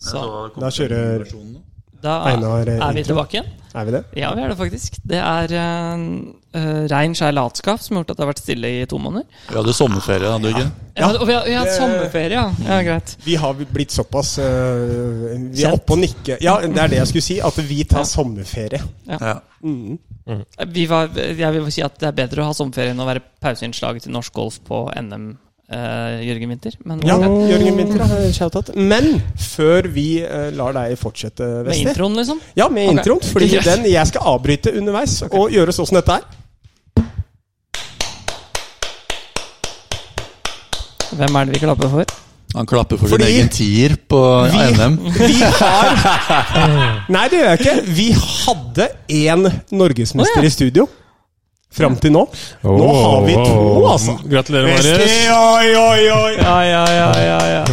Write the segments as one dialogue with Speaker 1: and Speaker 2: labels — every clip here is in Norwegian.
Speaker 1: Så
Speaker 2: Da kjører
Speaker 1: da
Speaker 2: Einar,
Speaker 1: er
Speaker 2: eh,
Speaker 1: vi
Speaker 2: intro.
Speaker 1: tilbake igjen.
Speaker 2: Er vi det?
Speaker 1: Ja, vi er det faktisk. Det er uh, rein, skjær latskap som har gjort at det har vært stille i to måneder.
Speaker 3: Vi hadde sommerferie, hadde vi ikke?
Speaker 1: Ja, og vi har, vi har hatt
Speaker 2: Det-
Speaker 1: sommerferie, ja. ja. Greit.
Speaker 2: Vi har blitt såpass eh, Vi
Speaker 1: Kjent.
Speaker 2: er oppe og nikker. Ja, det er det jeg skulle si. At vi tar sommerferie.
Speaker 3: Ja.
Speaker 1: Vi var, jeg vil si at det er bedre å ha sommerferie enn å være pauseinnslaget til norsk golf på NM, eh, Jørgen Winther. Men
Speaker 2: Ja,
Speaker 1: med
Speaker 2: Jørgen Winther,
Speaker 1: Mm.
Speaker 2: eh, shoutout. Men før vi eh, lar deg fortsette, Veste
Speaker 1: introen, liksom.
Speaker 2: Ja, med
Speaker 1: Ok.
Speaker 2: introen. Fordi
Speaker 1: Yes.
Speaker 2: den jeg skal avbryte underveis, og gjøre sånn som dette er.
Speaker 1: Hvem er det vi klapper for?
Speaker 3: Han klapper for
Speaker 2: Fordi
Speaker 3: sin egen tier på
Speaker 2: vi-
Speaker 3: NM.
Speaker 2: Vi har Nei, det gjør jeg ikke. Vi hadde én norgesmester
Speaker 1: Å, ja.
Speaker 2: i studio. Fram til nå. Nå har vi to, altså.
Speaker 4: Gratulerer,
Speaker 2: Vesti,
Speaker 4: Marius.
Speaker 2: oi, oi, oi.
Speaker 1: Ja, ja, ja, ja, ja.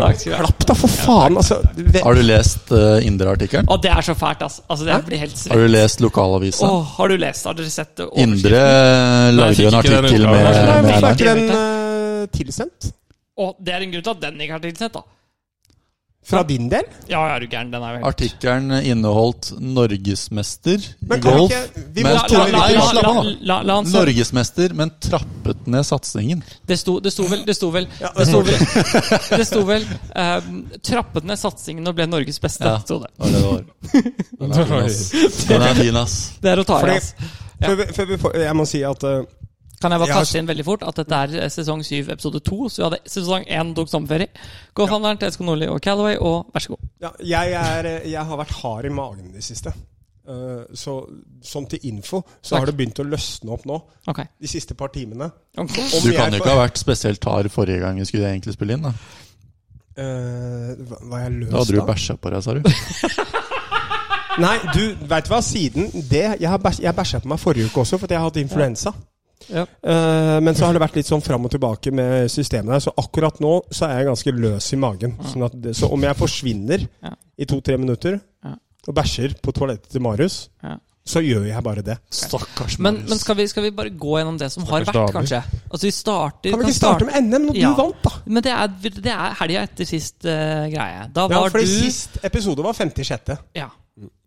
Speaker 1: Takk skal du ha.
Speaker 2: Klapp, da, for faen. Altså, Ve-
Speaker 3: Har du lest uh, Indre-artikkelen?
Speaker 1: Å, det er så fælt, altså. altså det blir helt svett.
Speaker 3: Har du lest lokalavisa?
Speaker 1: Å, har du lest? Har dere sett det? Overskriften?
Speaker 3: Indre
Speaker 4: Nei, jeg
Speaker 3: lagde
Speaker 4: fikk
Speaker 3: jo en
Speaker 4: ikke den
Speaker 3: artikkel
Speaker 4: utgaven. Nei,
Speaker 3: med,
Speaker 2: Nei,
Speaker 3: med
Speaker 2: Hvorfor er
Speaker 3: Einar.
Speaker 2: ikke den eh, tilsendt?
Speaker 1: Å, det er en grunn til at den ikke er tilsett, da.
Speaker 2: Fra din del?
Speaker 1: Ja, er du gæren? Den er jo helt
Speaker 3: Artikkelen inneholdt norgesmester i
Speaker 2: Men kan
Speaker 3: golf.
Speaker 2: vi ikke vi må
Speaker 3: Men-
Speaker 2: ta
Speaker 1: La-
Speaker 2: litt-
Speaker 1: la-
Speaker 3: Nei,
Speaker 1: la-
Speaker 3: slapp av,
Speaker 1: la- la- la
Speaker 3: da.
Speaker 1: han se.
Speaker 3: Norgesmester, men trappet ned satsingen.
Speaker 1: Det sto, det sto vel Det sto vel,
Speaker 2: eh,
Speaker 1: det sto vel, det sto vel ehm, Trappet ned satsingen og ble Norges beste.
Speaker 3: Ja.
Speaker 1: Sto det.
Speaker 3: Var det det var. Den er fin, ass. Den er fin, ass.
Speaker 1: det er å ta i,
Speaker 2: Fordi-
Speaker 1: altså. Ja.
Speaker 2: før vi- før vi får- Jeg må si at eh,
Speaker 1: Kan jeg bare
Speaker 2: Jeg har-
Speaker 1: kaste inn veldig fort at dette er eh, sesong 7, episode 2? Så vi hadde sesong 1 tok sommerferie. Golfhandleren til Esko Nordli og Calaway, og vær så god.
Speaker 2: ja, jeg, er, eh, jeg har vært hard i magen i det siste. Eh, så sånn til info, så
Speaker 1: Takk.
Speaker 2: har det begynt å løsne opp nå.
Speaker 1: Ok.
Speaker 2: De siste par timene.
Speaker 1: Ok.
Speaker 2: Om
Speaker 3: Du
Speaker 2: jeg
Speaker 3: kan jo
Speaker 2: får-
Speaker 3: ikke ha vært spesielt hard forrige gang vi skulle egentlig spille inn. da
Speaker 2: Eh, hva- hva jeg løst
Speaker 3: Da hadde du
Speaker 2: av?
Speaker 3: bæsja på deg, sa du.
Speaker 2: Nei, du, vet du hva? Siden det Jeg, har bæsj- jeg bæsja på meg forrige uke også, for jeg har hatt influensa.
Speaker 1: Ja.
Speaker 2: Eh, men så har det vært litt sånn fram og tilbake med systemet der, så akkurat nå så er jeg ganske løs i magen. Sånn at det, så om jeg forsvinner
Speaker 1: Ja.
Speaker 2: i to-tre minutter
Speaker 1: Ja.
Speaker 2: og bæsjer på toalettet til Marius,
Speaker 1: Ja.
Speaker 2: så gjør jeg bare det.
Speaker 3: Stakkars
Speaker 1: Men, men skal, vi, skal vi bare gå gjennom det som har
Speaker 4: Stakkars damer.
Speaker 1: vært, kanskje? Altså vi starter
Speaker 2: Kan vi ikke starte med NM når
Speaker 1: Ja.
Speaker 2: du vant, da?
Speaker 1: Men det er, det er helga etter sist eh, greie. Da
Speaker 2: Ja,
Speaker 1: var
Speaker 2: fordi
Speaker 1: du
Speaker 2: sist episode var 56.
Speaker 1: Ja,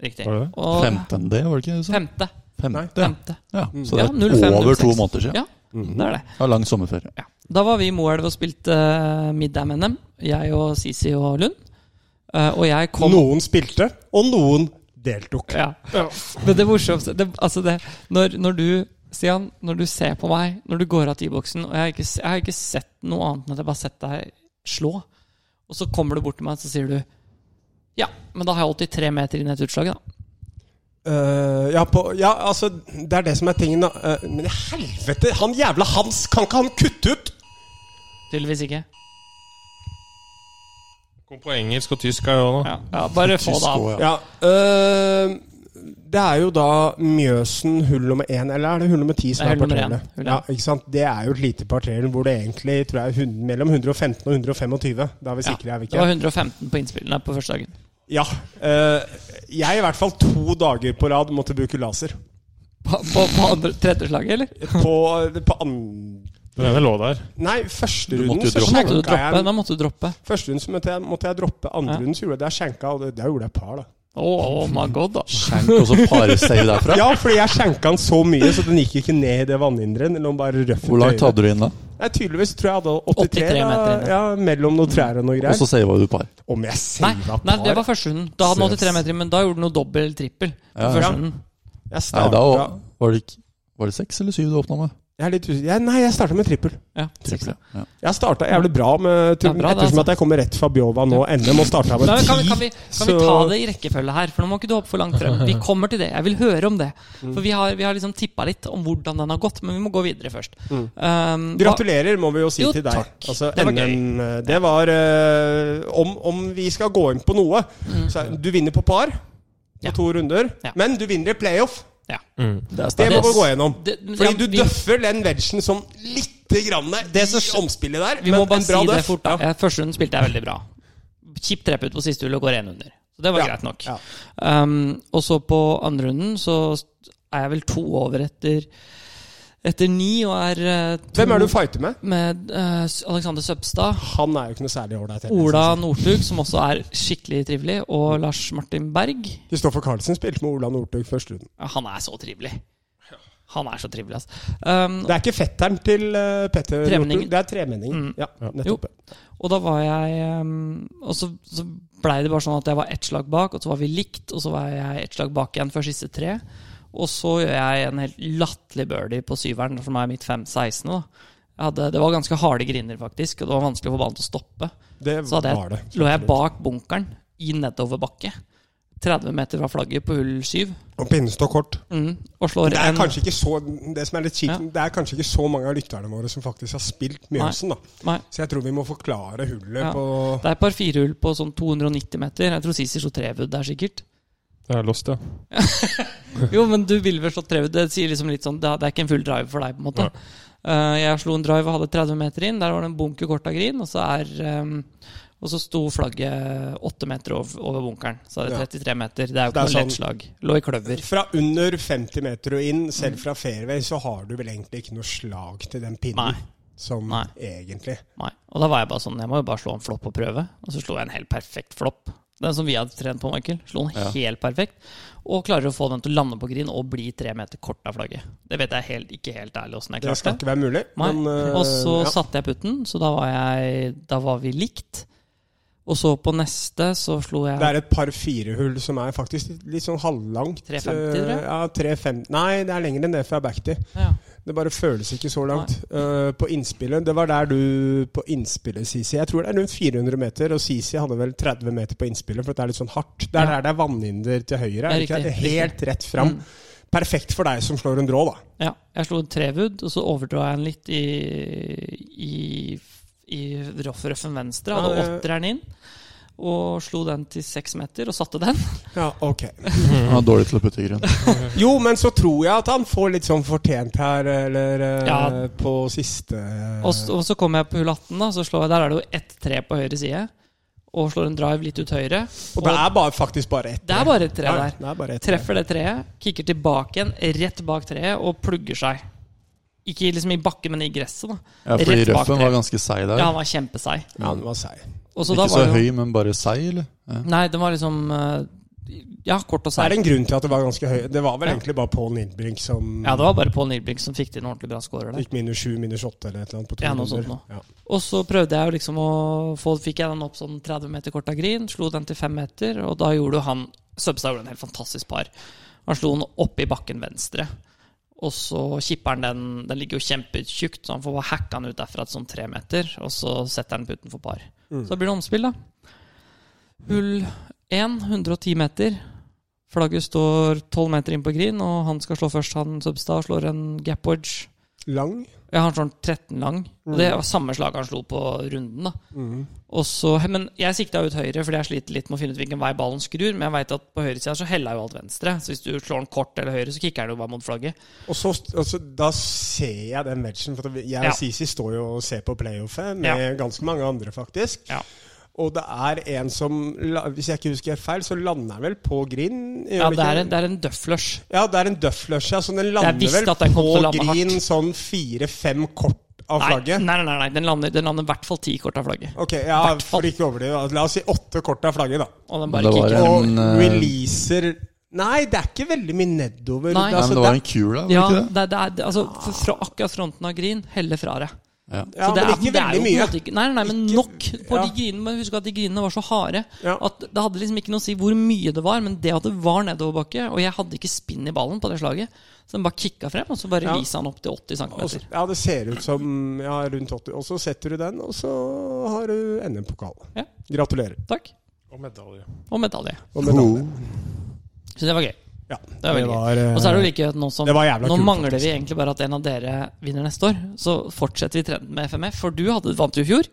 Speaker 1: riktig.
Speaker 4: Var det det?
Speaker 1: Og
Speaker 3: Femtende, var det ikke det? du sa?
Speaker 1: femte.
Speaker 3: Femte.
Speaker 1: femte. Mm.
Speaker 3: Ja, så det
Speaker 1: Ja,
Speaker 3: er
Speaker 1: 05,
Speaker 3: over to
Speaker 1: 06.
Speaker 3: måneder siden.
Speaker 1: Ja,
Speaker 2: Mm.
Speaker 1: det er det.
Speaker 3: Det var lang sommerferie.
Speaker 1: Ja. Da var vi i Moelv og spilte uh, middag-NM. Jeg og Sisi og Lund. Eh, og jeg kom
Speaker 2: Noen spilte, og noen deltok.
Speaker 1: Ja. Men det morsomste det, altså det, når, når du Stian, når du ser på meg, når du går av T-boksen Og jeg har, ikke, s- jeg har ikke sett noe annet enn at jeg bare har sett deg slå. Og så kommer du bort til meg, og så sier du Ja, men da har jeg 83 meter inn i et utslag, da.
Speaker 2: Eh, ja, på, ja, altså Det er det som er tingen, da. Eh, men i helvete! Han jævla Hans! Kan ikke han kutte ut?
Speaker 1: Tydeligvis ikke.
Speaker 4: Kom på engelsk og tysk her òg, da.
Speaker 1: Ja, ja bare få
Speaker 3: Tysk
Speaker 1: det av.
Speaker 3: også, ja.
Speaker 2: Ja. øh, det er jo da Mjøsen hull nummer én, eller er det hull nummer ti som
Speaker 1: Det
Speaker 2: er,
Speaker 1: er hull nummer
Speaker 2: parterrene?
Speaker 1: én, hull
Speaker 2: Ja,
Speaker 1: én.
Speaker 2: ikke sant? Det er jo et lite parterren hvor det egentlig tror jeg, er hund- mellom 115 og 125. Da er vi
Speaker 1: Ja,
Speaker 2: sikre, er vi
Speaker 1: Det var
Speaker 2: ikke?
Speaker 1: 115 på innspillene på første dagen.
Speaker 2: Ja. øh, jeg i hvert fall to dager på rad måtte bruke laser.
Speaker 1: På, på, på andre, tredje slaget, eller?
Speaker 2: På, på an...
Speaker 4: Den ene lå der.
Speaker 2: Nei, første
Speaker 3: Du måtte
Speaker 2: runden
Speaker 3: jo
Speaker 2: så
Speaker 1: Da måtte du
Speaker 3: droppe.
Speaker 2: skjenka
Speaker 1: droppe.
Speaker 2: jeg
Speaker 1: Da måtte du droppe.
Speaker 2: Første runden så måtte jeg, måtte jeg droppe, andre
Speaker 1: Ja.
Speaker 2: runden så gjorde jeg det jeg skjenka, og det, da gjorde jeg par, da.
Speaker 1: Oh, my god, da.
Speaker 3: Skjenk og så parsave derfra.
Speaker 2: Ja, fordi jeg skjenka den så mye, så den gikk ikke ned i det vannhinderet. Den lå bare røff
Speaker 3: Hvor langt hadde du inn da?
Speaker 2: Nei, tydeligvis tror jeg jeg hadde 83,
Speaker 1: 83 meter
Speaker 2: da,
Speaker 1: inne.
Speaker 2: ja, mellom noen trær og noe
Speaker 3: Og
Speaker 2: greier.
Speaker 3: så sava du par.
Speaker 2: Om jeg
Speaker 1: Nei,
Speaker 2: savet
Speaker 1: nei, det var
Speaker 2: par?
Speaker 1: første runden. Da hadde han
Speaker 2: Søs.
Speaker 1: 83 meter, men da gjorde han noe dobbel trippel. på
Speaker 3: Ja, ja.
Speaker 1: første runden.
Speaker 2: Jeg
Speaker 3: Nei,
Speaker 2: starta
Speaker 3: da var det ikke Var det seks eller syv du åpna med?
Speaker 2: jeg er litt usikker. Jeg, Nei, jeg starta med trippel.
Speaker 1: Ja,
Speaker 3: Trippel,
Speaker 1: seks.
Speaker 3: ja.
Speaker 2: Jeg starta jævlig bra med
Speaker 1: Ja,
Speaker 2: turnen,
Speaker 1: bra, det,
Speaker 2: ettersom
Speaker 1: altså.
Speaker 2: at jeg kommer rett fra Bjova nå, NM, og starta med
Speaker 1: Nei, men kan, vi-
Speaker 2: ti.
Speaker 1: kan, vi, kan vi
Speaker 2: så-
Speaker 1: ta det i rekkefølge her? For nå må ikke du hoppe for langt frem. Vi kommer til det. Jeg vil høre om det.
Speaker 2: Mm.
Speaker 1: For vi har, vi har liksom tippa litt om hvordan den har gått, men vi må gå videre først. Um, hva-
Speaker 2: Mm. Gratulerer, må vi jo si
Speaker 1: Jo,
Speaker 2: til deg.
Speaker 1: takk.
Speaker 2: Altså,
Speaker 1: Det var
Speaker 2: NM, det var eh, om, om vi skal gå inn på noe så er- Du vinner på par
Speaker 1: Mm. Ja.
Speaker 2: på to runder,
Speaker 1: Ja.
Speaker 2: men du vinner i playoff.
Speaker 1: Ja.
Speaker 3: Det er
Speaker 1: Det-
Speaker 2: Det må vi gå gjennom.
Speaker 1: det- men
Speaker 2: Fordi
Speaker 1: ja,
Speaker 2: du
Speaker 1: vi-
Speaker 2: døffer den vegen sånn lite grann
Speaker 1: Det
Speaker 2: i
Speaker 1: som skj-
Speaker 2: omspillet der.
Speaker 1: Vi må
Speaker 2: men
Speaker 1: bare
Speaker 2: en bra
Speaker 1: si det
Speaker 2: døff.
Speaker 1: fort. da Eh, Første runden spilte jeg veldig bra. Kjipt trepp ut på siste hull og går én under. Så det var greit nok.
Speaker 2: Ja.
Speaker 1: Um, og så på andre runden så st- er jeg vel to over etter etter ni og er Ah, eh, to
Speaker 2: Hvem er det du fighter med?
Speaker 1: med eh, S- Alexander Søbstad.
Speaker 2: Han er jo ikke noe særlig ålreit. heller,
Speaker 1: Ola
Speaker 2: synes jeg.
Speaker 1: Northug, som også er skikkelig trivelig, og Lars Martin Berg.
Speaker 2: Kristoffer Carlsen spilte med Ola Northug første runden.
Speaker 1: Ja, Han er så trivelig. Han er så trivelig, altså. Um,
Speaker 2: Det er ikke fetteren til eh, Petter
Speaker 1: Tremenningen.
Speaker 2: Northug. Det er tremenningen.
Speaker 1: Mm.
Speaker 2: Ja, nettopp.
Speaker 1: Og da var jeg ehm, Og så, så blei det bare sånn at jeg var ett slag bak, og så var vi likt, og så var jeg ett slag bak igjen før siste tre. Og så gjør jeg en helt latterlig birdie på syveren, som er mitt 5-16. da. Jeg hadde, det var ganske harde griner, faktisk, og det var vanskelig å få ballen til å stoppe.
Speaker 2: Det
Speaker 1: Så hadde
Speaker 2: var det.
Speaker 1: jeg, lå jeg bak bunkeren i nedoverbakke, 30 meter fra flagget på hull 7,
Speaker 2: Og pinnestokk-kort.
Speaker 1: mm, og slår
Speaker 2: Det er
Speaker 1: en
Speaker 2: kanskje ikke så Det som er litt kjipt, det er kanskje ikke så mange av lytterne våre som faktisk har spilt Mjøsen, da.
Speaker 1: Nei.
Speaker 2: Så jeg tror vi må forklare hullet
Speaker 1: Ja.
Speaker 2: på
Speaker 1: Det er et par firehull på sånn 290 meter. Jeg tror Sisi slo trevudd der, sikkert.
Speaker 4: Det er lost, ja.
Speaker 1: Jo, men du ville vel slått trevudd. Det sier liksom litt sånn Det er det er ikke en full drive for deg, på en måte. Eh, jeg slo en drive og hadde 30 meter inn. Der var det en bunker kort av grin, og så er ehm, Og så sto flagget 8 meter over, over bunkeren. Så er det
Speaker 2: Ja.
Speaker 1: 33 meter. Det er jo
Speaker 2: Det er
Speaker 1: ikke noe
Speaker 2: sånn-
Speaker 1: lett slag. Lå i kløver.
Speaker 2: Fra under 50 meter og inn, selv fra fairway, så har du vel egentlig ikke noe slag til den pinnen.
Speaker 1: Nei.
Speaker 2: Som
Speaker 1: Nei.
Speaker 2: egentlig
Speaker 1: Nei. Og da var jeg bare sånn Jeg må jo bare slå en flopp og prøve. Og så slo jeg en helt perfekt flopp. Den som vi hadde trent på, Michael. Slo den
Speaker 3: Ja.
Speaker 1: helt perfekt. Og klarer å få den til å lande på grin og bli tre meter kort av flagget. Det vet jeg helt, ikke helt ærlig åssen jeg
Speaker 2: Det
Speaker 1: klarte.
Speaker 2: skal ikke være mulig.
Speaker 1: Nei.
Speaker 2: men, eh,
Speaker 1: og så
Speaker 2: ja.
Speaker 1: satte jeg putten, så da var, jeg, da var vi likt. Og så på neste så slo jeg
Speaker 2: Det er et par firehull som er faktisk litt- litt sånn halvlangt.
Speaker 1: 3,50, tror jeg.
Speaker 2: eh, Ja, 3,50 Nei, det er lenger enn det fra backtid.
Speaker 1: ja.
Speaker 2: Det bare føles ikke så langt. Eh, på innspillet Det var der du på innspillet, Sisi. Jeg tror det er rundt 400 meter, og Sisi hadde vel 30 meter på innspillet, for det er litt sånn hardt. Det er
Speaker 1: Ja.
Speaker 2: der det er vannhinder til høyre.
Speaker 1: Ja,
Speaker 2: er det ikke
Speaker 1: riktig, Mm.
Speaker 2: det? Helt rett fram. Perfekt for deg som slår en drå, da.
Speaker 1: ja. Jeg slo en trewood, og så overdra jeg den litt i, i, i roff-røffen venstre. Hadde
Speaker 2: Ja, det-
Speaker 1: åtteren inn. Og slo den til seks meter, og satte den.
Speaker 2: Ja, ok Mm.
Speaker 3: Han er dårlig til å putte i grunn.
Speaker 2: Jo, men så tror jeg at han får litt sånn fortjent her, eller eh,
Speaker 1: Ja.
Speaker 2: på siste
Speaker 1: Og, s- og så kom jeg på hull 18, da, så slår jeg, der er det jo ett tre på høyre side. Og slår en drive litt ut høyre.
Speaker 2: Og det er bare, faktisk bare ett.
Speaker 1: det er bare et tre
Speaker 2: Ja,
Speaker 1: der.
Speaker 2: Det er bare ett.
Speaker 1: Treffer det treet, kikker tilbake igjen, rett bak treet, og plugger seg. Ikke liksom i bakken, men i gresset. da.
Speaker 3: Ja, fordi
Speaker 1: Rett bak
Speaker 3: røffen
Speaker 1: det.
Speaker 3: var ganske seig der.
Speaker 1: Ja, han var kjempeseig.
Speaker 2: Ja, den var seig.
Speaker 1: Og så da
Speaker 3: Ikke så
Speaker 1: var det jo-
Speaker 3: høy, men bare seig, eller? Ja.
Speaker 1: Nei, den var liksom eh, Ja, kort og
Speaker 2: Så er
Speaker 1: seig.
Speaker 2: det en grunn til at det var ganske høy. Det var vel
Speaker 1: Ja.
Speaker 2: egentlig bare Paul Nidbrink som
Speaker 1: Ja, det var bare Pål Nilbrink som fikk til en ordentlig bra scorer der.
Speaker 2: gikk minus sju, minus åtte eller et eller annet på to
Speaker 1: Ja, noe
Speaker 2: runder.
Speaker 1: sånt nå.
Speaker 2: Ja.
Speaker 1: Og så prøvde jeg jo liksom å få Fikk jeg den opp sånn 30 meter kort av grin, slo den til 5 meter, og da gjorde jo han Søbstad gjorde en helt fantastisk par. Han slo den opp i bakken venstre, og så kipper han den Den ligger jo kjempetjukt, så han får bare hacka den ut derfra til sånn 3 meter, og så setter han putten for par. Så blir det omspill, da. Hull 1, 110 meter. Flagget står 12 meter inn på grin, og han skal slå først, han Søbstad, og slår en gap wedge.
Speaker 2: Lang.
Speaker 1: Ja, han sånn 13 lang. Og
Speaker 2: Mm.
Speaker 1: det var samme slag han slo på runden. da. Og så, Men jeg sikta ut høyre, fordi jeg sliter litt med å finne ut hvilken vei ballen skrur. Men jeg vet at på høyresida så heller jo alt venstre. Så hvis du slår den kort eller høyre, så kicker den jo bare mot flagget.
Speaker 2: Og så, og så Da ser jeg den matchen. For at vi- jeg og
Speaker 1: Ja.
Speaker 2: Sisi står jo og ser på playoffet med
Speaker 1: Ja.
Speaker 2: ganske mange andre, faktisk.
Speaker 1: Ja.
Speaker 2: Og det er en som la- Hvis jeg ikke husker helt feil, så lander han vel på green? gjør
Speaker 1: Ja,
Speaker 2: han
Speaker 1: det
Speaker 2: ikke
Speaker 1: er en, det er en duff flush.
Speaker 2: Ja, det er en dufflush, ja. Så den lander
Speaker 1: visste
Speaker 2: vel
Speaker 1: at den kom til å
Speaker 2: på
Speaker 1: lande hardt.
Speaker 2: green sånn fire-fem kort av
Speaker 1: Nei, nei,
Speaker 2: flagget.
Speaker 1: nei, nei, nei, den lander den lander i hvert fall ti kort av flagget.
Speaker 2: Ok, ja,
Speaker 1: Hvert fall.
Speaker 2: for ikke å overdrive. La oss si åtte kort av flagget, da.
Speaker 1: Og den
Speaker 3: Men
Speaker 1: bare
Speaker 3: det var
Speaker 1: kicker.
Speaker 3: en-
Speaker 2: Og
Speaker 3: eh,
Speaker 2: releaser Nei, det er ikke veldig mye nedover.
Speaker 1: Nei.
Speaker 3: Nei,
Speaker 2: altså,
Speaker 3: men det var en kul der, var det
Speaker 1: Ja,
Speaker 3: ikke det?
Speaker 1: det, det er, det, altså, fra- fra akkurat fronten av green heller fra deg.
Speaker 2: ja,
Speaker 3: Ja.
Speaker 1: Så det
Speaker 2: men
Speaker 1: er,
Speaker 2: ikke
Speaker 1: det er jo på
Speaker 2: veldig
Speaker 1: en
Speaker 2: mye.
Speaker 1: måte ikke Nei, nei, nei, men
Speaker 2: Ikke-
Speaker 1: nok på
Speaker 2: ja.
Speaker 1: de grinene. Men husk at de grinene var så harde
Speaker 2: Ja.
Speaker 1: at det hadde liksom ikke noe å si hvor mye det var, men det at det var nedoverbakke Og jeg hadde ikke spinn i ballen på det slaget, så den bare kicka frem, og så bare
Speaker 2: Ja.
Speaker 1: releasa han opp til 80 cm.
Speaker 2: Og så- Altså, ja, det ser ut som ja, rundt 80. Og så setter du den, og så har du NM-pokal.
Speaker 1: Ja.
Speaker 2: Gratulerer.
Speaker 1: Takk.
Speaker 4: Og medalje.
Speaker 1: Og medalje.
Speaker 2: Og medalje.
Speaker 1: Så det var gøy.
Speaker 2: Ja,
Speaker 1: Det var veldig gøy.
Speaker 2: eh,
Speaker 1: Og så er det jo like gøy at nå som
Speaker 2: det var jævla
Speaker 1: Nå
Speaker 2: kult,
Speaker 1: mangler
Speaker 2: faktisk.
Speaker 1: vi egentlig bare at en av dere vinner neste år. Så fortsetter vi trenden med FMF, for du hadde, vant jo i fjor,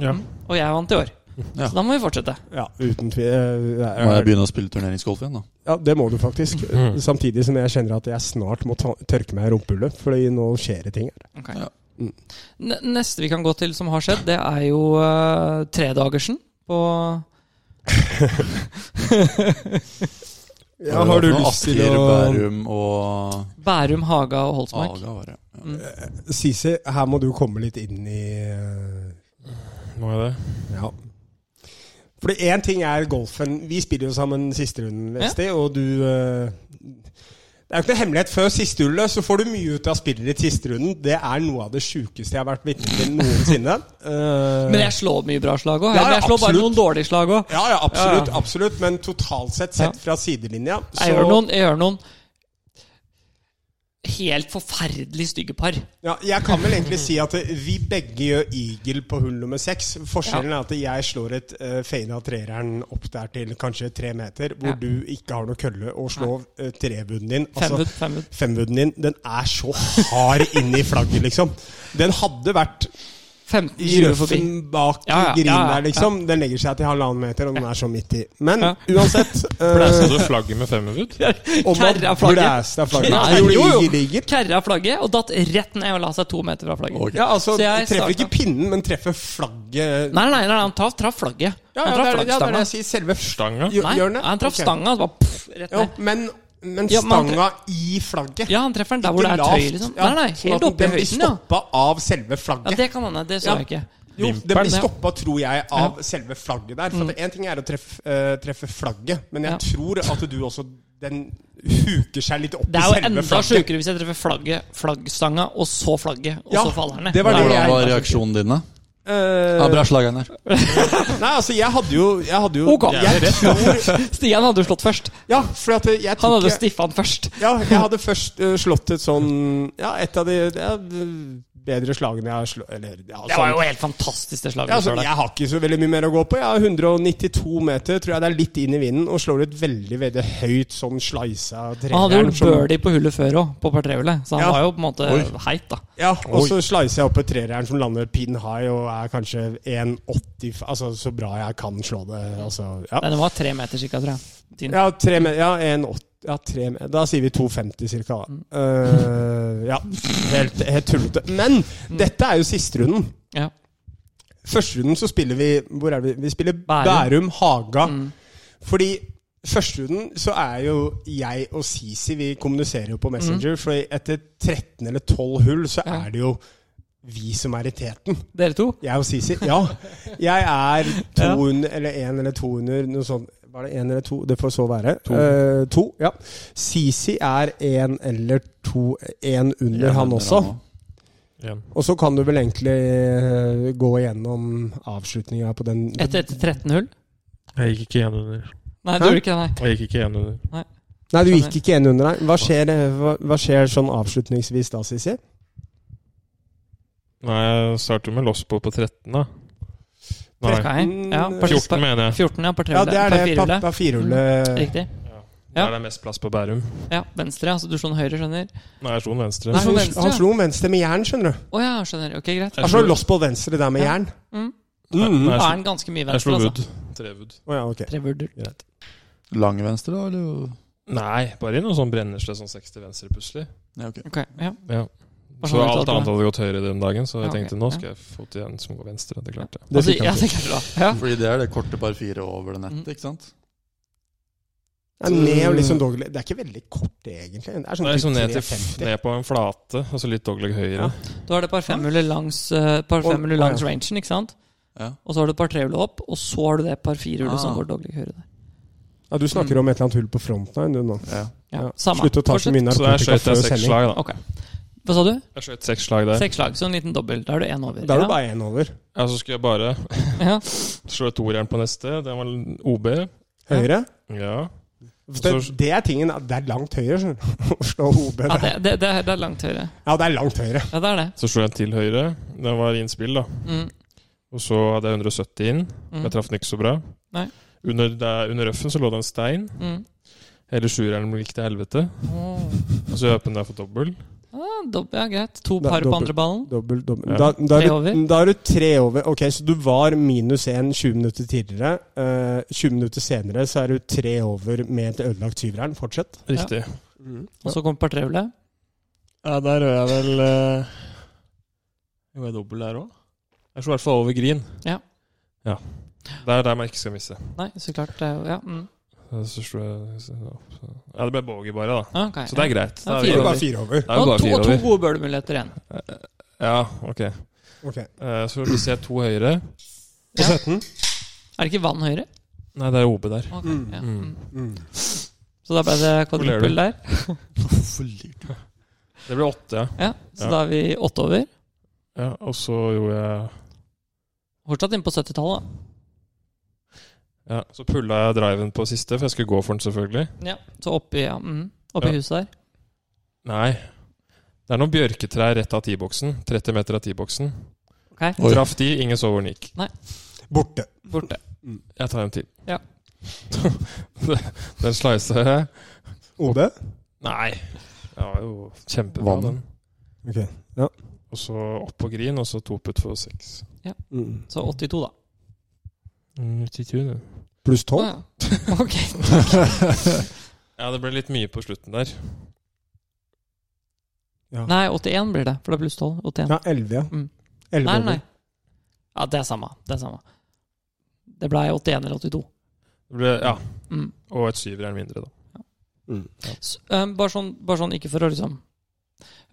Speaker 4: Ja.
Speaker 1: og jeg vant i år.
Speaker 3: Ja.
Speaker 1: Så da må vi fortsette.
Speaker 2: Ja, uten tvil. eh, det er-
Speaker 3: Må jeg begynne å spille turneringsgolf igjen, da?
Speaker 2: Ja, det må du faktisk.
Speaker 1: Mm.
Speaker 2: Samtidig som jeg kjenner at jeg snart må ta, tørke meg i rumpehullet, fordi nå skjer det ting her.
Speaker 1: Ok.
Speaker 3: Ja.
Speaker 2: Mm.
Speaker 1: Ne- Neste vi kan gå til som har skjedd, det er jo uh, tredagersen på
Speaker 2: Ja, har du
Speaker 3: Noe
Speaker 2: lyst til
Speaker 3: Asker,
Speaker 2: å
Speaker 3: Bærum og
Speaker 1: Bærum, Haga og Holsmark.
Speaker 3: Aga, var det. Ja.
Speaker 1: Mm.
Speaker 2: Eh, Sisi, her må du komme litt inn i eh,
Speaker 4: Må jeg det?
Speaker 2: Ja. Fordi én ting er golfen. Vi spiller jo sammen siste runden, Vesti, og du eh, Det er jo ikke noe hemmelighet. Før siste hullet så får du mye ut av spillet ditt siste runden. Det er noe av det sjukeste jeg har vært vitne til noensinne. Eh,
Speaker 1: Men jeg slår mye bra slag òg.
Speaker 2: Ja, ja,
Speaker 1: jeg slår bare
Speaker 2: absolutt.
Speaker 1: noen dårlige slag òg.
Speaker 2: Eh, ja, ja, absolutt,
Speaker 1: Ja.
Speaker 2: absolutt. Men totalt sett,
Speaker 1: Ja.
Speaker 2: sett fra sidelinja,
Speaker 1: Jeg gjør noen, jeg gjør noen helt forferdelig stygge par.
Speaker 2: Ja, jeg kan vel egentlig si at eh, vi begge gjør eagle på hull nummer seks. Forskjellen er at jeg slår et uh, fade av treeren opp der til kanskje tre meter, hvor
Speaker 1: Ja.
Speaker 2: du ikke har noe kølle, og slår uh, trebuden din.
Speaker 1: Fem
Speaker 2: Altså,
Speaker 1: ut, fem ut.
Speaker 2: femwooden din, den er så hard inni flagget, liksom. Den hadde vært
Speaker 1: 15
Speaker 2: i
Speaker 1: 20 forbi.
Speaker 2: røffen bak
Speaker 1: Ja, ja,
Speaker 2: grinen
Speaker 1: ja, ja,
Speaker 2: der, liksom. Den legger seg til halvannen meter, og den er så midt i. Men
Speaker 1: Ja.
Speaker 2: uansett
Speaker 4: For der
Speaker 2: uh,
Speaker 4: så du flagget med femmerud?
Speaker 2: Om man
Speaker 1: Kærra flagget.
Speaker 2: blæste av flagget.
Speaker 1: Nei,
Speaker 2: Jeg
Speaker 1: jo,
Speaker 2: gjorde
Speaker 1: jo.
Speaker 2: eagle, eagle.
Speaker 1: Kærra flagget og datt rett ned og la seg to meter fra flagget.
Speaker 3: Ok.
Speaker 2: Ja, altså,
Speaker 1: Så jeg
Speaker 2: treffer
Speaker 1: starta-
Speaker 2: ikke pinnen, men treffer flagget
Speaker 1: Nei, nei, nei, nei, han traff traff flagget.
Speaker 2: Ja,
Speaker 1: han
Speaker 2: ja,
Speaker 1: traff
Speaker 2: det, er, ja, det er det
Speaker 1: flaggstanga.
Speaker 2: jeg sier. Selve f-
Speaker 4: Stanga?
Speaker 2: gjør-
Speaker 1: Nei,
Speaker 2: hjørnet.
Speaker 1: han traff
Speaker 2: Ok.
Speaker 1: stanga. og Så bare pff, rett
Speaker 2: Jo,
Speaker 1: ned.
Speaker 2: men, men
Speaker 1: Ja, men han
Speaker 2: stanga i flagget.
Speaker 1: Ja, han treffer den der hvor det er tøy, liksom. Nei, nei, helt oppe i høyden, ja.
Speaker 2: sånn Den blir stoppa av selve
Speaker 1: Ja,
Speaker 2: flagget.
Speaker 1: Det kan hende. Det så
Speaker 2: Ja.
Speaker 1: jeg ikke.
Speaker 2: jo,
Speaker 4: Vimpelen,
Speaker 2: den blir
Speaker 1: ja. Mm.
Speaker 2: stoppa, tror jeg, av selve flagget der. For én ting er å treffe, eh, treffe flagget, men jeg
Speaker 1: Ja.
Speaker 2: tror at du også Den huker seg litt opp
Speaker 1: Det
Speaker 2: i
Speaker 1: er jo
Speaker 2: selve
Speaker 1: enda
Speaker 2: flagget.
Speaker 1: sjukere hvis jeg treffer flagget, flaggstanga, og så flagget, og
Speaker 2: Ja,
Speaker 1: så faller han ned.
Speaker 2: det var det
Speaker 1: Da er
Speaker 3: Hvordan var
Speaker 1: helt sjukt.
Speaker 3: reaksjonen din, da?
Speaker 2: Eh,
Speaker 3: Ja, bra slag, Einar.
Speaker 2: nei, altså, jeg hadde jo Jeg hadde jo
Speaker 1: Ok.
Speaker 2: jeg tror,
Speaker 1: Stian hadde jo slått først.
Speaker 2: Ja, for at jeg
Speaker 1: Han
Speaker 2: tok-
Speaker 1: hadde stiffa han først.
Speaker 2: Ja, jeg hadde først eh, slått et sånn Ja, et av de ja, de bedre slagene jeg har slått Eller ja,
Speaker 1: Det var
Speaker 2: sånn.
Speaker 1: jo helt fantastisk, det slaget. du
Speaker 2: Ja, altså,
Speaker 1: slår der.
Speaker 2: jeg har ikke så veldig mye mer å gå på. Jeg har 192 meter, tror jeg det er litt inn i vinden, og slår ut veldig veldig høyt sånn sleisa
Speaker 1: Han hadde
Speaker 2: trejern.
Speaker 1: gjort
Speaker 2: som-
Speaker 1: birdie på hullet før òg, på par trehullet. Så han
Speaker 2: Ja.
Speaker 1: var jo på en måte
Speaker 3: Oi.
Speaker 1: heit, da.
Speaker 2: Ja, og så slicer jeg opp et trejern som lander pin high og er kanskje 1,80 Altså så bra jeg kan slå det. Altså,
Speaker 1: Nei,
Speaker 2: ja.
Speaker 1: den var tre meter cirka, tror jeg. Tynn.
Speaker 2: Ja, tre me- ja, 1,80 ja, tre me- Da sier vi 2,50 cirka, da.
Speaker 1: Mm.
Speaker 2: Eh, ja. Helt, helt tullete. Men
Speaker 1: Mm.
Speaker 2: dette er jo siste runden.
Speaker 1: Ja.
Speaker 2: Første runden så spiller vi Hvor er det vi? Vi spiller
Speaker 1: Bærum.
Speaker 2: Bærum, Haga.
Speaker 1: Mm.
Speaker 2: Fordi første runden så er jo jeg og Sisi Vi kommuniserer jo på Messenger. For etter 13 eller 12 hull så
Speaker 1: Mm. Ja.
Speaker 2: er det jo vi som er i teten.
Speaker 1: Dere to?
Speaker 2: Jeg og Sisi. Ja. Jeg er to under, eller én eller to under noe sånt. Var det én eller to? Det får så være. To. to ja. Sisi er én eller to Én under, han også.
Speaker 4: Igjen.
Speaker 2: Og så kan du vel egentlig eh, gå igjennom avslutninga på den
Speaker 1: Etter, etter 13 hull?
Speaker 4: Jeg gikk ikke igjen under.
Speaker 1: Nei,
Speaker 2: Hæ?
Speaker 1: du gjorde ikke det, nei.
Speaker 4: Jeg gikk ikke igjen under.
Speaker 2: Nei, du gikk ikke én under, nei. Hva skjer, eh, hva, hva skjer sånn avslutningsvis da, Sisi?
Speaker 4: Nei, jeg starter med loss på på 13, da. Nei,
Speaker 1: Nei. Ja, par,
Speaker 4: 14
Speaker 1: par,
Speaker 4: mener jeg.
Speaker 1: 14, ja. Par
Speaker 2: Mm,
Speaker 1: trehullet. par
Speaker 2: Ja, det er det.
Speaker 1: firehullet.
Speaker 2: Pappa firehullet
Speaker 1: Riktig. Ja.
Speaker 4: Der er det mest plass på Bærum.
Speaker 1: Ja, venstre. Altså du slo den høyre, skjønner?
Speaker 4: Nei, jeg slo den venstre.
Speaker 1: Nei,
Speaker 2: Han
Speaker 1: på
Speaker 2: slo-
Speaker 1: venstre,
Speaker 2: Han
Speaker 1: ja.
Speaker 2: slo om venstre med jern, skjønner du.
Speaker 1: Å ja, skjønner. Ok, greit.
Speaker 4: Jeg
Speaker 2: Han
Speaker 4: slo-
Speaker 2: slo loss på venstre der med
Speaker 1: Ja.
Speaker 2: jern.
Speaker 1: Mm.
Speaker 4: Nei,
Speaker 1: Da
Speaker 4: jeg
Speaker 1: er
Speaker 4: slo-
Speaker 1: den ganske mye
Speaker 4: Jeg slo
Speaker 1: venstre,
Speaker 4: wood.
Speaker 1: altså.
Speaker 4: Trewood.
Speaker 2: Å ja, ok.
Speaker 1: Tre vurder.
Speaker 4: Greit.
Speaker 3: Lang venstre, da? Eller?
Speaker 4: Nei, bare i noe sånn brennesle sånn 60 venstre plutselig.
Speaker 3: Ja, ok.
Speaker 1: Ok, ja.
Speaker 4: Ja.
Speaker 1: Hva
Speaker 4: Så
Speaker 1: sånn
Speaker 4: alt
Speaker 1: uttalte
Speaker 4: annet
Speaker 1: du?
Speaker 4: hadde gått høyre den dagen, så jeg
Speaker 1: Ja, ok.
Speaker 4: tenkte nå skal jeg få til en som går venstre. Det klarte jeg.
Speaker 2: Det
Speaker 1: Altså,
Speaker 2: fikk
Speaker 1: ja,
Speaker 2: han
Speaker 1: det
Speaker 2: til.
Speaker 1: klarte du. Ja.
Speaker 3: Fordi det er det korte par fire over det
Speaker 1: Mm.
Speaker 3: nettet, ikke sant?
Speaker 2: Ja, ned og liksom dogleg. Det er ikke veldig kort, egentlig. Det er sånn
Speaker 4: Nei, så
Speaker 2: typ
Speaker 4: ned, til,
Speaker 2: 3,50.
Speaker 4: ned på en flate, og så litt dogleg høyre.
Speaker 2: Ja.
Speaker 1: Du har det par femhullet langs, eh, par
Speaker 2: Og-
Speaker 1: femhullet
Speaker 2: Mm. å, ja.
Speaker 1: langs rangen, ikke sant?
Speaker 3: Ja.
Speaker 1: Og så har du par trehullet opp, og så har du det par firehullet som
Speaker 3: Ah.
Speaker 1: går doglig høyre der.
Speaker 2: Ja, du snakker om et eller annet hull på fronten her, du nå.
Speaker 3: ja.
Speaker 1: Ja,
Speaker 2: Mm. Ja.
Speaker 1: samme.
Speaker 2: Slutt å ta så
Speaker 1: Fortsett.
Speaker 2: mye
Speaker 4: Så der
Speaker 2: narkotika
Speaker 4: skjøt
Speaker 2: før
Speaker 4: jeg seks
Speaker 2: sending.
Speaker 4: slag, da.
Speaker 1: Ok. Hva sa du?
Speaker 4: Jeg skjøt seks slag der.
Speaker 1: Seks slag, så en liten dobbel. Da er du én over.
Speaker 2: Da er
Speaker 1: Ja.
Speaker 2: du bare én over.
Speaker 4: Ja, så skulle jeg bare
Speaker 1: Ja.
Speaker 4: slå toeren på neste. Den var OB.
Speaker 2: Høyre.
Speaker 4: Ja.
Speaker 2: Det, det er tingen. at Det er langt høyre, skjønner du. Å slå OB
Speaker 1: Ja,
Speaker 2: der.
Speaker 1: det, det, det, er, det er langt høyre.
Speaker 2: Ja, det er langt høyre.
Speaker 1: Ja, det er det.
Speaker 4: Så slo jeg en til høyre. Den var innspill, da.
Speaker 1: Mm.
Speaker 4: Og så hadde jeg 170 inn.
Speaker 1: Mm.
Speaker 4: Jeg traff den ikke så bra.
Speaker 1: Nei.
Speaker 4: Under, der, under røffen så lå det en stein.
Speaker 1: Mm.
Speaker 4: Hele sjueren gikk til helvete.
Speaker 1: Åh.
Speaker 4: Og så øpen der for dobbel.
Speaker 1: Ja, dobb- ja, greit. To
Speaker 2: Da-
Speaker 1: par på
Speaker 2: dobbelt.
Speaker 1: andre ballen.
Speaker 2: Dobbel, dobbel.
Speaker 4: Ja.
Speaker 2: Da, da,
Speaker 1: Tre
Speaker 2: er
Speaker 1: over.
Speaker 2: du, da er du tre over. Ok, Så du var minus én 20 minutter tidligere. Eh, 20 minutter senere så er du tre over med et ødelagt syveren. Fortsett.
Speaker 4: Riktig.
Speaker 2: Mm.
Speaker 1: Og så kommer partrehjulet.
Speaker 5: Ja, der rører jeg vel uh, Jo, jeg dobbel der òg. Jeg slo i hvert fall over green.
Speaker 4: Det er der man ikke skal misse.
Speaker 1: Nei, så klart. det er jo- Ja. Mm.
Speaker 4: Så slo jeg så- Ja, det ble bogey bare, da.
Speaker 1: Ok.
Speaker 4: Så det er greit. Da
Speaker 1: Ja,
Speaker 4: er vi-
Speaker 1: fire
Speaker 2: Det er
Speaker 1: over.
Speaker 2: bare fire
Speaker 4: da er
Speaker 2: over.
Speaker 4: vi
Speaker 1: Og
Speaker 4: bare
Speaker 1: to,
Speaker 4: fire
Speaker 1: og to
Speaker 4: over.
Speaker 1: gode bølemuligheter igjen.
Speaker 4: Ja, ok.
Speaker 2: Ok.
Speaker 4: Eh, Så vil du se to høyre.
Speaker 1: Ja.
Speaker 2: På 17?
Speaker 1: Er det ikke vann høyre?
Speaker 4: Nei, det er OB der.
Speaker 1: Ok,
Speaker 2: Mm.
Speaker 1: ja.
Speaker 4: Mm.
Speaker 2: Mm.
Speaker 1: Så da ble det
Speaker 4: Hvor ler du?
Speaker 1: kvadruppel der.
Speaker 4: Det ble åtte, ja.
Speaker 1: Ja, så
Speaker 4: Ja.
Speaker 1: da er vi åtte over.
Speaker 4: ja. Og så gjorde jeg
Speaker 1: Fortsatt inne på 70-tallet. da.
Speaker 4: ja, Så pulla jeg driven på siste, for jeg skulle gå for den, selvfølgelig.
Speaker 1: Ja, så oppi, ja, mm, oppi
Speaker 4: Ja.
Speaker 1: huset der.
Speaker 4: Nei. Det er noen bjørketrær rett av T-boksen. 30 meter av T-boksen.
Speaker 1: Ok,
Speaker 3: Oi.
Speaker 4: Traff de, ingen så hvor den gikk.
Speaker 2: Borte.
Speaker 1: Borte.
Speaker 4: Jeg tar en til.
Speaker 1: Ja.
Speaker 4: den slicer jeg.
Speaker 2: OD?
Speaker 4: Nei. Det var jo kjempebra,
Speaker 3: Vann.
Speaker 4: den.
Speaker 2: Ok.
Speaker 4: Og så opp på grin, og så to putt for seks.
Speaker 2: Mm.
Speaker 1: Så 82, da.
Speaker 4: Mm, Ja,
Speaker 2: Pluss
Speaker 1: Å,
Speaker 2: 12?
Speaker 1: ja. Ok.
Speaker 4: det ble litt mye på slutten der.
Speaker 1: Nei, 81 blir det, for det er pluss 12. 81.
Speaker 2: Ja, 11, ja.
Speaker 1: Mm.
Speaker 2: 11
Speaker 1: nei,
Speaker 2: over.
Speaker 1: nei. Ja, det er samme. Det er samme. Det blei 81 eller 82.
Speaker 4: Det ble, ja,
Speaker 1: Mm.
Speaker 4: Og et syveren mindre, da.
Speaker 1: S- eh, bare, sånn, bare sånn, ikke for å liksom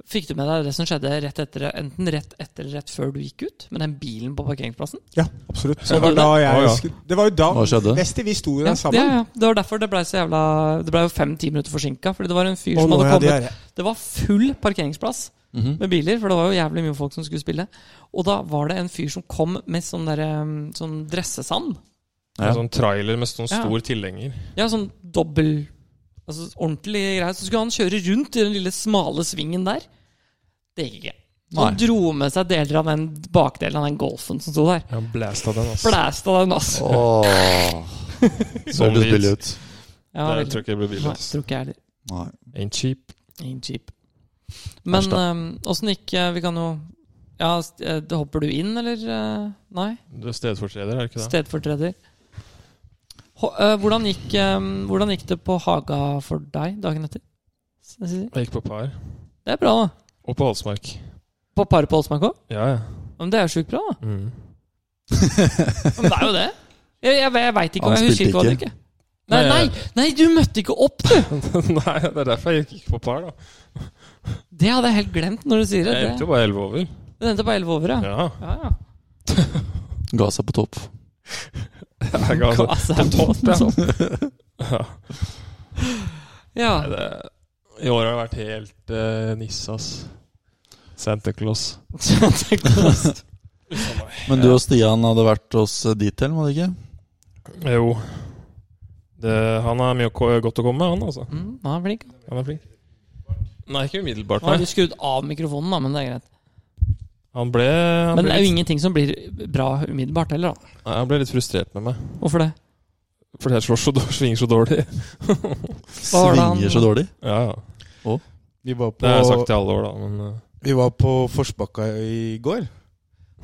Speaker 1: Fikk du med deg det som skjedde rett etter, enten rett etter eller rett før du gikk ut? Med den bilen på parkeringsplassen?
Speaker 2: Ja, absolutt.
Speaker 1: Så
Speaker 2: Det var
Speaker 1: du
Speaker 2: da
Speaker 4: Å,
Speaker 2: jeg
Speaker 4: ja.
Speaker 2: husker Det var jo da
Speaker 3: Hva skjedde?
Speaker 2: Vesti, vi sto jo
Speaker 1: Ja,
Speaker 2: der
Speaker 1: det,
Speaker 2: sammen.
Speaker 1: ja. det var derfor det blei så jævla Det blei jo fem-ti minutter forsinka. Fordi det var en fyr
Speaker 2: Og
Speaker 1: som
Speaker 2: nå
Speaker 1: hadde
Speaker 2: er
Speaker 1: kommet
Speaker 2: det
Speaker 1: Det var full parkeringsplass
Speaker 3: Mhm.
Speaker 1: med biler, for det var jo jævlig mye folk som skulle spille. Og da var det en fyr som kom med sånn, der, um, sånn dressesand.
Speaker 3: Ja.
Speaker 4: En sånn trailer med sånn
Speaker 1: Ja.
Speaker 4: stor tilhenger.
Speaker 1: Ja, sånn dobbel Altså ordentlig greie. Så skulle han kjøre rundt i den lille smale svingen der. Det gikk ikke. Så han
Speaker 3: Nei.
Speaker 1: dro med seg deler av den bakdelen av den golfen som sto der.
Speaker 4: Ja, blæsta den, altså.
Speaker 1: Blæsta den, altså.
Speaker 3: Åh. Så
Speaker 4: Sånn
Speaker 3: høres
Speaker 4: lyd.
Speaker 3: billig ut.
Speaker 1: Ja,
Speaker 4: det
Speaker 1: veldig.
Speaker 4: tror jeg ikke det blir billig.
Speaker 1: Nei,
Speaker 4: Altså.
Speaker 1: tror ikke jeg heller.
Speaker 3: Nei.
Speaker 4: Ain't cheap.
Speaker 1: Ain't cheap. Men
Speaker 3: Æsj da.
Speaker 1: åssen gikk eh, Vi kan jo Ja, st- eh, det hopper du inn, eller? eh, Nei?
Speaker 4: Du er stedfortreder, er det ikke det?
Speaker 1: Stedfortreder. Ho- øh, Hvordan gikk, øhm, hvordan gikk det på Haga for deg dagen etter? S- Sissy?
Speaker 4: Jeg gikk på par.
Speaker 1: Det er bra, da.
Speaker 4: Og på Halsmark.
Speaker 1: På paret på Olsmark òg?
Speaker 4: Ja, ja.
Speaker 1: Men det er jo sjukt bra, da.
Speaker 4: Mm.
Speaker 1: Men det er jo det. Jeg, jeg, jeg veit ikke. og
Speaker 3: Han
Speaker 1: Jeg husker
Speaker 3: spilte
Speaker 1: ikke hva du
Speaker 3: ikke.
Speaker 1: ikke. Nei, nei,
Speaker 4: Nei,
Speaker 1: nei, du møtte ikke opp, du!
Speaker 4: Nei, det er derfor jeg gikk ikke på par, da.
Speaker 1: Det hadde jeg helt glemt når du sier det.
Speaker 4: Jeg endte
Speaker 1: Det
Speaker 4: jo bare elleve over.
Speaker 1: det endte på 11 over, ja.
Speaker 4: Ja.
Speaker 1: Ja, ja.
Speaker 3: Ga seg på topp.
Speaker 4: Jeg ga altså.
Speaker 1: Altså, jeg
Speaker 4: topp, ja.
Speaker 1: måtte opp.
Speaker 4: ja.
Speaker 1: ja.
Speaker 4: Nei, det, I år har det vært helt uh, nisse, ass. Santa Claus.
Speaker 1: Så jeg tenkte også,
Speaker 3: Men du og Stian hadde vært hos Detail, må det ikke?
Speaker 4: Jo. Det, han har mye å ko- godt å komme med, han altså.
Speaker 1: mm, Nå er han flink.
Speaker 4: Han er flink. Nei, ikke umiddelbart,
Speaker 1: Nå har
Speaker 4: nei.
Speaker 1: du skrudd av mikrofonen, da, men det er greit.
Speaker 4: Han ble, han
Speaker 1: Men
Speaker 4: ble,
Speaker 1: det er jo
Speaker 4: litt,
Speaker 1: ingenting som blir bra umiddelbart heller, da.
Speaker 4: nei, han ble litt frustrert med meg.
Speaker 1: Hvorfor det?
Speaker 4: Fordi jeg slår så dårlig, svinger så dårlig.
Speaker 1: Hva var det han-
Speaker 3: Svinger så dårlig.
Speaker 4: Ja, ja.
Speaker 6: Vi var
Speaker 4: Det har jeg sagt
Speaker 6: på,
Speaker 4: i alle år, da. Men eh,
Speaker 6: vi var på Forsbakka i går.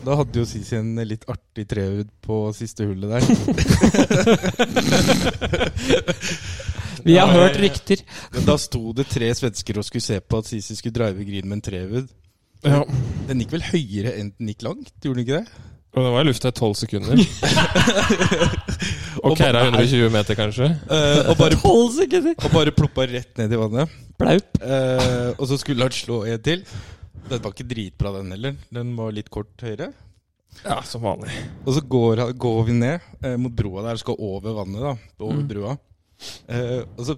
Speaker 6: Da hadde jo Sisi en litt artig trehud på siste hullet der.
Speaker 1: Vi har
Speaker 4: Ja,
Speaker 1: hørt
Speaker 4: jeg-
Speaker 1: rykter.
Speaker 6: Men da sto det tre svensker og skulle se på at Sisi skulle drive green med en trehud.
Speaker 4: ja.
Speaker 6: Den gikk vel høyere enn den gikk langt, gjorde den ikke det?
Speaker 4: Og det var i lufta i tolv sekunder. Og Keira 120 meter, kanskje.
Speaker 6: Eh, og, bare,
Speaker 1: Tolv sekunder!
Speaker 6: og bare ploppa rett ned i vannet.
Speaker 1: Blaup.
Speaker 6: Eh, og så skulle han slå en til. Den var ikke dritbra, den heller. Den var litt kort høyere.
Speaker 4: Ja, som vanlig.
Speaker 6: Og så går, han- går vi ned eh, mot broa der, skal over vannet, da. Over
Speaker 1: Mm.
Speaker 6: brua. Eh, og så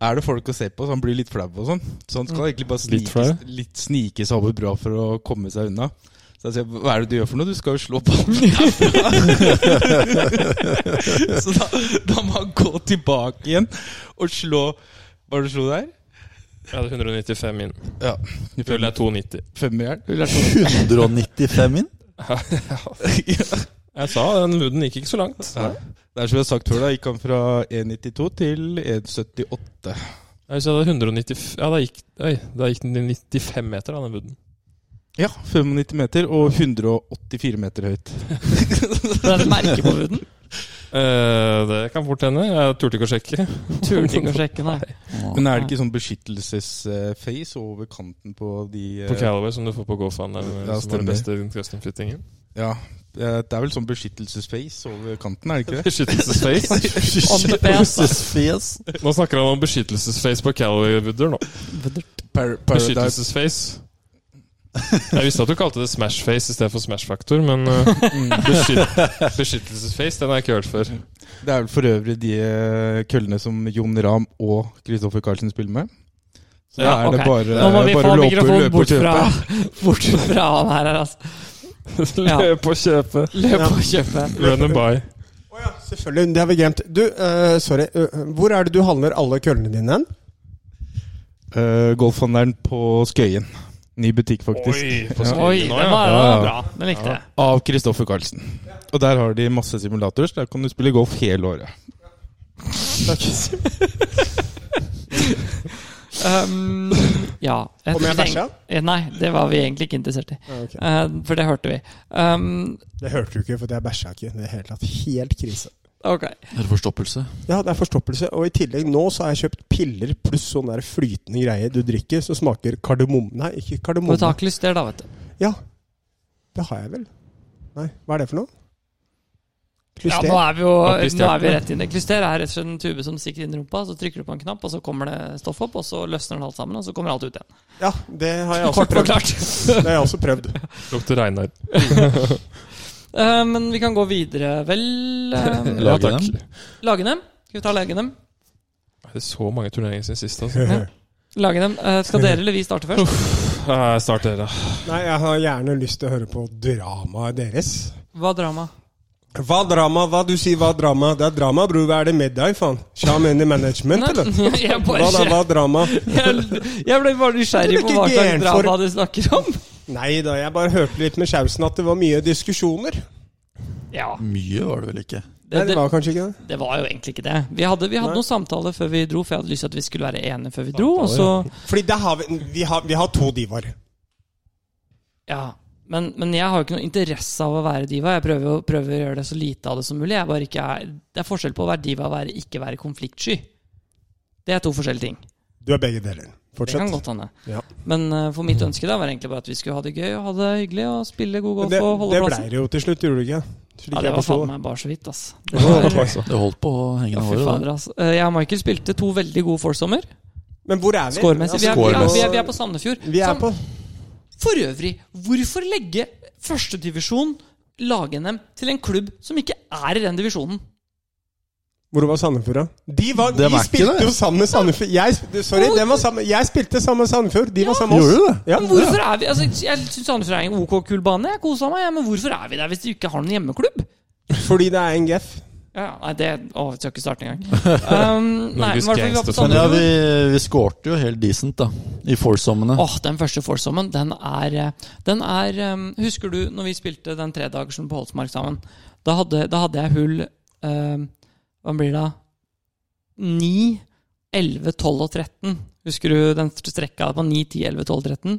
Speaker 6: er det folk å se på, så han blir litt flau og sånn. Så han skal egentlig bare
Speaker 4: Mm. Litt
Speaker 6: snike,
Speaker 4: flau?
Speaker 6: litt snike seg over brua for å komme seg unna. Så jeg sier, hva er det du gjør for noe? Du skal jo slå ballen derfra! så da, da må han gå tilbake igjen og slå Hva var det du slo der?
Speaker 4: Jeg hadde 195 inn.
Speaker 6: Ja.
Speaker 4: Føler jeg 290.
Speaker 6: Femmeren?
Speaker 3: 195 inn?
Speaker 4: Jeg sa den luden gikk ikke så langt.
Speaker 6: Ja. Det er som jeg har sagt før, da gikk han fra 1,92 til 1,78.
Speaker 4: Hvis jeg hadde 190 Ja, da gikk, oi, da gikk den i 95 meter, da, den wooden.
Speaker 6: Ja, 95 meter og 184 meter høyt.
Speaker 1: Det er et merke på huden.
Speaker 4: Eh, det kan fort hende. Jeg turte ikke å sjekke.
Speaker 1: Turte ikke å sjekke, nei.
Speaker 6: Men er det ikke sånn beskyttelsesface over kanten på de eh,
Speaker 4: På Calaway, som du får på GoFan, eller
Speaker 6: Ja,
Speaker 4: som har
Speaker 6: stemmer.
Speaker 4: den beste custom-fittingen.
Speaker 6: Ja, eh, det er vel sånn beskyttelsesface over kanten, er det ikke det?
Speaker 4: Beskyttelsesface.
Speaker 1: On the face.
Speaker 3: Fjes.
Speaker 4: Nå snakker han om beskyttelsesface på Calaway-Woodder nå.
Speaker 6: Par Paradise.
Speaker 4: Beskyttelsesface. Jeg visste at du kalte det Smashface istedenfor Smashfaktor, men eh,
Speaker 6: Mm.
Speaker 4: beskytt, beskyttelsesface, den har jeg ikke hørt før.
Speaker 6: Det er vel for øvrig de eh, køllene som Jon Rahm og Kristoffer Carlsen spiller med. Så
Speaker 4: Ja,
Speaker 6: da er
Speaker 1: ok.
Speaker 6: det bare,
Speaker 1: Nå må vi
Speaker 6: bare
Speaker 1: få
Speaker 6: å løpe-
Speaker 1: mikrofonen
Speaker 6: løpe og
Speaker 1: bort
Speaker 6: kjøpe.
Speaker 1: fra, bort fra han her, her, altså. Ja.
Speaker 4: Løp og kjøpe.
Speaker 1: Løp og kjøpe.
Speaker 4: Run and buy.
Speaker 2: Å ja, selvfølgelig. Det har vi glemt. Du, eh, sorry. eh, hvor er det du handler alle køllene dine hen?
Speaker 6: Eh, Golfhandleren på Skøyen. Ny butikk, faktisk.
Speaker 4: på
Speaker 6: Ja.
Speaker 1: Oi,
Speaker 4: skrinen
Speaker 1: den
Speaker 4: nå, ja.
Speaker 1: var, den
Speaker 6: Ja, ja.
Speaker 1: var bra. Den likte jeg.
Speaker 6: Av Kristoffer Carlsen. Og der har de masse simulatorer, så der kan du spille golf hele året.
Speaker 1: Um, ja.
Speaker 2: Om jeg bæsja?
Speaker 1: Eh, Nei, det var vi egentlig ikke interessert i.
Speaker 2: Ja, ok.
Speaker 1: Eh, for det hørte vi. Um,
Speaker 2: Det hørte du ikke, for jeg bæsja ikke. i Det hele tatt Helt krise.
Speaker 1: ok.
Speaker 3: Hørforstoppelse.
Speaker 2: Ja, det er forstoppelse. Og i tillegg nå så har jeg kjøpt piller pluss sånn der flytende greie du drikker som smaker kardemomme Nei, ikke
Speaker 1: Må
Speaker 2: kardemomme.
Speaker 1: ta klyster, da, vet du.
Speaker 2: Ja. Det har jeg vel. Nei, hva er det for noe?
Speaker 1: Ja,
Speaker 2: Klyster?
Speaker 1: nå er vi jo
Speaker 4: Ja, klyster.
Speaker 1: nå er vi rett inne. Klyster er rett og slett en tube som stikker inn i rumpa. Så trykker du på en knapp, og så kommer det stoff opp, og så løsner den alt sammen, og så kommer alt ut igjen.
Speaker 2: Ja, det har jeg også
Speaker 1: Kort
Speaker 2: prøvd.
Speaker 1: forklart.
Speaker 2: Det har jeg også prøvd.
Speaker 4: Lukter Reinar.
Speaker 1: Eh, men vi kan gå videre, vel eh,
Speaker 4: Ja,
Speaker 3: Lage
Speaker 4: takk.
Speaker 3: dem.
Speaker 1: Lagene. Skal vi ta lagene?
Speaker 4: Er det så mange turneringer siden sist, altså?
Speaker 1: Lagene. Eh, skal dere eller vi starte først?
Speaker 4: Eh, Start dere, da.
Speaker 2: Nei, jeg har gjerne lyst til å høre på dramaet deres.
Speaker 1: Hva er drama?
Speaker 2: Hva drama? Hva du sier hva drama? Det er drama, bror. Hva er det med deg, faen? Sjam in the management, eller?
Speaker 1: jeg,
Speaker 2: Hva da,
Speaker 1: bare,
Speaker 2: hva drama?
Speaker 1: jeg, jeg ble bare nysgjerrig på
Speaker 2: Ikke
Speaker 1: hva slags
Speaker 2: gæren for-
Speaker 1: drama du snakker om.
Speaker 2: Nei da, jeg bare hørte litt med skjausen at det var mye diskusjoner.
Speaker 1: Ja,
Speaker 3: Mye var det vel ikke.
Speaker 2: Nei,
Speaker 1: det,
Speaker 2: det
Speaker 1: det,
Speaker 2: var kanskje ikke det.
Speaker 1: det var jo egentlig ikke det. Vi hadde, vi
Speaker 2: Nei.
Speaker 1: hadde noen samtaler før vi dro, for jeg hadde lyst til at vi skulle være enige før vi dro. Og så,
Speaker 2: Fordi der har vi, vi, har, vi har to divaer.
Speaker 1: ja men, men jeg har jo ikke noe interesse av å være diva. Jeg prøver, å- prøver å gjøre det så lite av det som mulig. Jeg bare ikke er, det er forskjell på å være diva og være, ikke være konfliktsky. Det er to forskjellige ting.
Speaker 2: Du er begge deler.
Speaker 1: Det kan
Speaker 2: Fortsett.
Speaker 1: godt hende.
Speaker 2: Ja.
Speaker 1: Men eh, for mitt ønske da var egentlig bare at vi skulle ha det gøy og ha det hyggelig og spille god
Speaker 2: Men
Speaker 1: golf
Speaker 2: Det,
Speaker 1: og holde
Speaker 2: det blei
Speaker 1: plassen.
Speaker 2: det jo til slutt, gjorde det ikke? Slik
Speaker 1: Ja, det
Speaker 2: jeg
Speaker 1: var
Speaker 2: forsto
Speaker 1: faen
Speaker 2: det.
Speaker 1: meg bare så vidt, ass. Det var,
Speaker 4: Takk.
Speaker 3: Det holdt på å henge
Speaker 1: ja,
Speaker 3: av
Speaker 1: fy fader,
Speaker 3: håret.
Speaker 1: ass. Eh, Jeg og Michael spilte to veldig gode forsommer.
Speaker 2: Men hvor er vi?
Speaker 1: Skårmessig. Vi er, vi, er,
Speaker 3: Skårmessig.
Speaker 1: vi, er, vi er på Sandefjord.
Speaker 2: Vi er
Speaker 1: Sam-
Speaker 2: på
Speaker 1: For øvrig, hvorfor legge førstedivisjon, lag-NM, til en klubb som ikke er i den divisjonen?
Speaker 2: Hvor var Sandefjord, da? De, var,
Speaker 3: Dem er
Speaker 2: de
Speaker 3: ikke
Speaker 2: spilte
Speaker 3: det.
Speaker 2: jo sammen med Sandefjord. Jeg, du, sorry, dem var sammen, jeg spilte sammen med Sandefjord. De var sammen med oss.
Speaker 3: Gjorde du det?
Speaker 2: Ja.
Speaker 1: Men hvorfor er vi, altså, Jeg syns Sandefjord er en ok, kul bane. Jeg kosa meg, ja, men hvorfor er vi der hvis de ikke har noen hjemmeklubb?
Speaker 2: Fordi det er NGF.
Speaker 1: Ja, nei, det Å, vi skal ikke starte engang. Um, nei, men i hvert fall, vi var på
Speaker 4: Norges
Speaker 3: Men ja,
Speaker 1: Sandefjord.
Speaker 3: vi, vi skårte jo helt decent, da. I foursommene.
Speaker 1: Åh, Den første foursomen, den er eh, Den er eh, Husker du når vi spilte den tredagersen på Holsmark sammen? Da hadde, da hadde jeg hull eh, Hva blir det da? 9, 11, 12 og 13. Husker du den strekka på 9, 10, 11, 12, 13?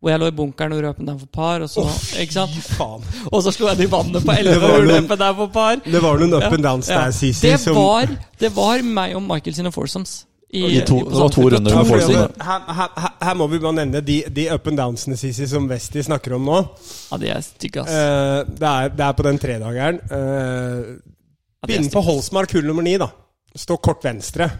Speaker 1: Hvor jeg lå i bunkeren og røpen den for par, og så Ikke sant?
Speaker 2: Fy faen.
Speaker 1: Og så slo jeg den i vannet på 11
Speaker 2: var
Speaker 1: og
Speaker 2: noen-
Speaker 1: røpen der for par.
Speaker 2: Det var noen up and downs
Speaker 1: Ja.
Speaker 2: der, Sisi.
Speaker 1: Det
Speaker 2: som-
Speaker 1: var, det var meg og Michael sine foursomes.
Speaker 3: I to,
Speaker 1: på
Speaker 3: det var to
Speaker 1: Sandefjord.
Speaker 3: runder
Speaker 2: Ja,
Speaker 3: med
Speaker 2: for det-
Speaker 3: foursome.
Speaker 2: her, her, her- her må vi bare nevne de, de up and downsene, Sisi, som Westi snakker om nå.
Speaker 1: Ja, de er stygge, ass.
Speaker 2: Eh, det, er, det er på den tredageren. Uh,
Speaker 1: Ja, de er
Speaker 2: Begynner på Holsmark, hull nummer ni, da. Står kort venstre.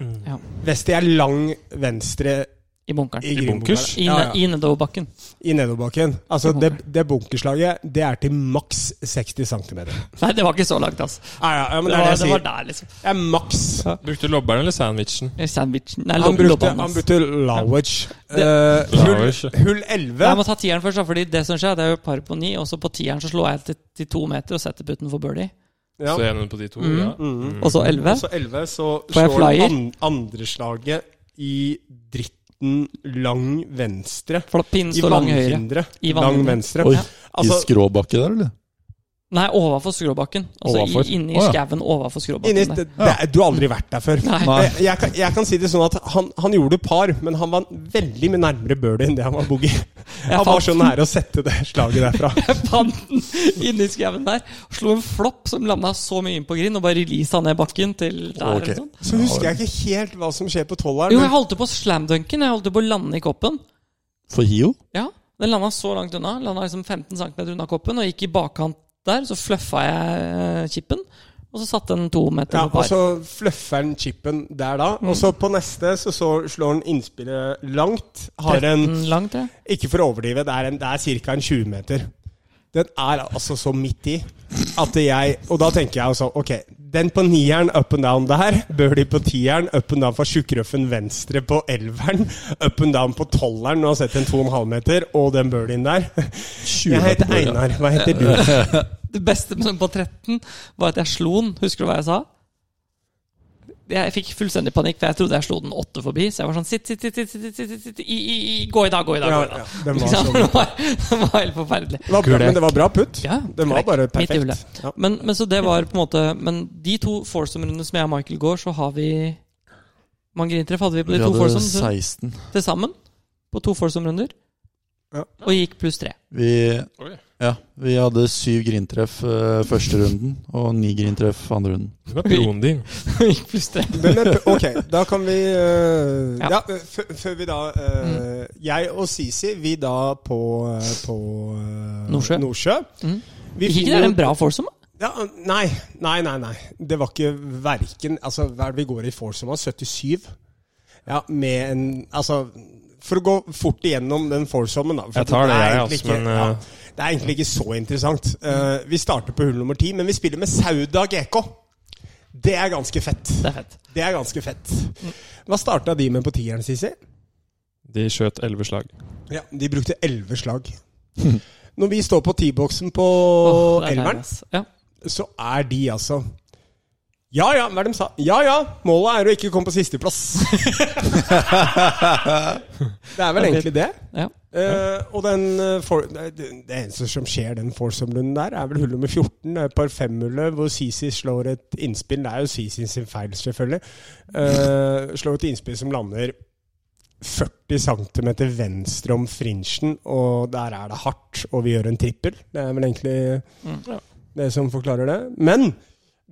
Speaker 1: Ja.
Speaker 2: Westi er lang venstre
Speaker 1: stygge I bunkeren.
Speaker 2: i,
Speaker 4: bunkers?
Speaker 2: bunkers.
Speaker 1: I,
Speaker 2: Ja, ja.
Speaker 1: i nedoverbakken.
Speaker 2: I nedoverbakken. Altså,
Speaker 1: I bunker.
Speaker 2: det, det bunkerslaget, det er til maks 60 cm.
Speaker 1: Nei, det var ikke så langt, altså.
Speaker 2: Ja, ja, ja,
Speaker 1: Det
Speaker 2: men det er
Speaker 1: var,
Speaker 2: det jeg
Speaker 1: det var
Speaker 2: sier.
Speaker 1: der, liksom.
Speaker 2: Det er maks.
Speaker 4: Brukte du lobberen eller sandwichen?
Speaker 1: Sandwichen. Nei,
Speaker 2: Han
Speaker 1: lobb-
Speaker 2: brukte,
Speaker 1: lobbanen,
Speaker 2: han
Speaker 1: altså.
Speaker 2: brukte Lowage. eh, hull,
Speaker 4: Lowage, ja.
Speaker 2: hull
Speaker 1: Nei, Jeg
Speaker 2: 11.
Speaker 1: må ta tieren først, da, fordi det som skjer, det er jo par på ni, og så på tieren så slår jeg til, til to meter og setter putten for birdie.
Speaker 2: Ja.
Speaker 4: Så en på de to?
Speaker 1: Mm.
Speaker 4: Ja.
Speaker 1: Og så elleve.
Speaker 2: Og så 11, så
Speaker 1: Får jeg
Speaker 2: slår
Speaker 1: flyer?
Speaker 2: an, andre slaget i dritten lang venstre.
Speaker 1: For da pinnen
Speaker 2: I
Speaker 1: står lang høyre.
Speaker 2: vannhinderet.
Speaker 1: I
Speaker 2: Lang
Speaker 1: vannhinderet.
Speaker 2: venstre.
Speaker 3: Oi, i
Speaker 2: Altså,
Speaker 3: skråbakke der, eller?
Speaker 1: Nei, overfor skråbakken. Altså
Speaker 3: Overfor?
Speaker 1: I, inni
Speaker 3: Å, ja.
Speaker 1: skauen overfor skråbakken.
Speaker 2: inni, det,
Speaker 1: der.
Speaker 2: det, er- du har aldri vært der før.
Speaker 1: Nei.
Speaker 3: Nei.
Speaker 2: Jeg, jeg, kan, jeg kan si det sånn at han, han gjorde par, men han var veldig mye nærmere birdie enn det han var boogie.
Speaker 1: Jeg
Speaker 2: Han var
Speaker 1: fant,
Speaker 2: så nære å sette det slaget derfra.
Speaker 1: jeg fant den inni skauen der. Slo en flopp som landa så mye inn på grind, og bare releasa ned bakken til der.
Speaker 3: Ok.
Speaker 1: eller sånn.
Speaker 2: Så husker jeg ikke helt hva som skjer på
Speaker 1: Jo,
Speaker 2: tolveren.
Speaker 1: jeg
Speaker 2: men-
Speaker 1: holdt på å slamdunken. Jeg holdt på å lande i koppen.
Speaker 3: For Hio?
Speaker 1: Ja, Den landa så langt unna. Landa liksom 15 cm unna koppen og gikk i bakkant der. Så fluffa jeg eh, chipen, og så satte den to meter
Speaker 2: Ja,
Speaker 1: på par.
Speaker 2: og
Speaker 1: Mm.
Speaker 2: så fluffer han chipen der da. Og så på neste så, så slår han innspillet langt. Har en
Speaker 1: Mm, Langt, jeg.
Speaker 2: Ikke for å overdrive, det er, en- det er ca. en 20 meter. Den er altså så midt i at jeg Og da tenker jeg altså Ok, den på nieren up and down der, bør de på tieren up and down fra tjukkrøffen venstre på elveren, up and down på tolveren når han setter en 2,5 meter, og den bør de inn der. Jeg heter Einar. Hva heter du?
Speaker 1: Det beste med den på 13 var at jeg slo den. Husker du hva jeg sa? Jeg fikk fullstendig panikk, for jeg trodde jeg slo den åtte forbi. Så jeg var sånn sitt, sitt, sitt, sitt, sitt, sitt, sitt, sitt, sitt i, i, i, Gå i dag, gå i dag.
Speaker 2: Ja,
Speaker 1: Gå i
Speaker 2: ja,
Speaker 1: dag.
Speaker 2: den var
Speaker 1: Ikke sant?
Speaker 2: så
Speaker 1: Det var, det var helt forferdelig.
Speaker 2: det var bra, Men det var bra putt.
Speaker 1: Ja,
Speaker 2: Den var
Speaker 1: korrekt.
Speaker 2: bare
Speaker 1: Midt i
Speaker 2: perfekt.
Speaker 1: hullet.
Speaker 2: Ja.
Speaker 1: Men, men så det var på en måte Men de to foursome-rundene som jeg og Michael går, så har vi mange grintreff hadde vi på
Speaker 3: Vi
Speaker 1: de to
Speaker 3: hadde
Speaker 1: foursome
Speaker 3: 16.
Speaker 1: til sammen. På to foursome-runder.
Speaker 2: Ja.
Speaker 1: Og gikk pluss tre.
Speaker 3: Vi,
Speaker 4: Oi.
Speaker 3: ja, vi hadde syv grintreff eh, første runden og ni grintreff andre runden.
Speaker 4: Du er broen din.
Speaker 1: gikk pluss tre.
Speaker 2: Men, men, ok, da kan vi øh,
Speaker 1: Ja. Mm.
Speaker 2: ja. før- Før vi da øh, Jeg og Sisi, vi da på, øh, på øh,
Speaker 1: Nordsjø. Mm.
Speaker 2: Vi
Speaker 1: Gikk ikke
Speaker 2: jo-
Speaker 1: det en bra foursome?
Speaker 2: ja, Nei, nei, nei. nei Det var ikke verken Altså, hva er det vi går i for som var 77? Ja, med en Altså for å gå fort igjennom den foursomen, da. for
Speaker 4: Jeg tar det,
Speaker 2: er
Speaker 4: jeg,
Speaker 2: egentlig
Speaker 4: altså, men,
Speaker 2: ja,
Speaker 4: eh,
Speaker 2: det er egentlig ikke så interessant. Eh, vi starter på hull nummer ti, men vi spiller med Sauda GK. Det er ganske fett.
Speaker 1: Det er fett.
Speaker 2: Det er ganske fett. Hva starta de med på tieren, Sisi?
Speaker 4: De skjøt elleve slag.
Speaker 2: Ja, De brukte elleve slag. Når vi står på T-boksen på
Speaker 1: Åh, det er deilig,
Speaker 2: elveren,
Speaker 1: ass. Ja.
Speaker 2: så er de altså Ja ja, hva er det de sa? Ja ja, målet er å ikke komme på sisteplass. det er vel egentlig det.
Speaker 1: Ja.
Speaker 2: Eh, og den eh, for, nei, det det eneste som skjer den foursome-runden der, er vel hull nummer 14. Det er et par femhullet hvor Sisi slår et innspill. Det er jo Sisi sin feil, selvfølgelig. Eh, slår et innspill som lander 40 cm venstre om fringen, og der er det hardt, og vi gjør en trippel. Det er vel egentlig
Speaker 1: Mm.
Speaker 2: ja, det som forklarer det. Men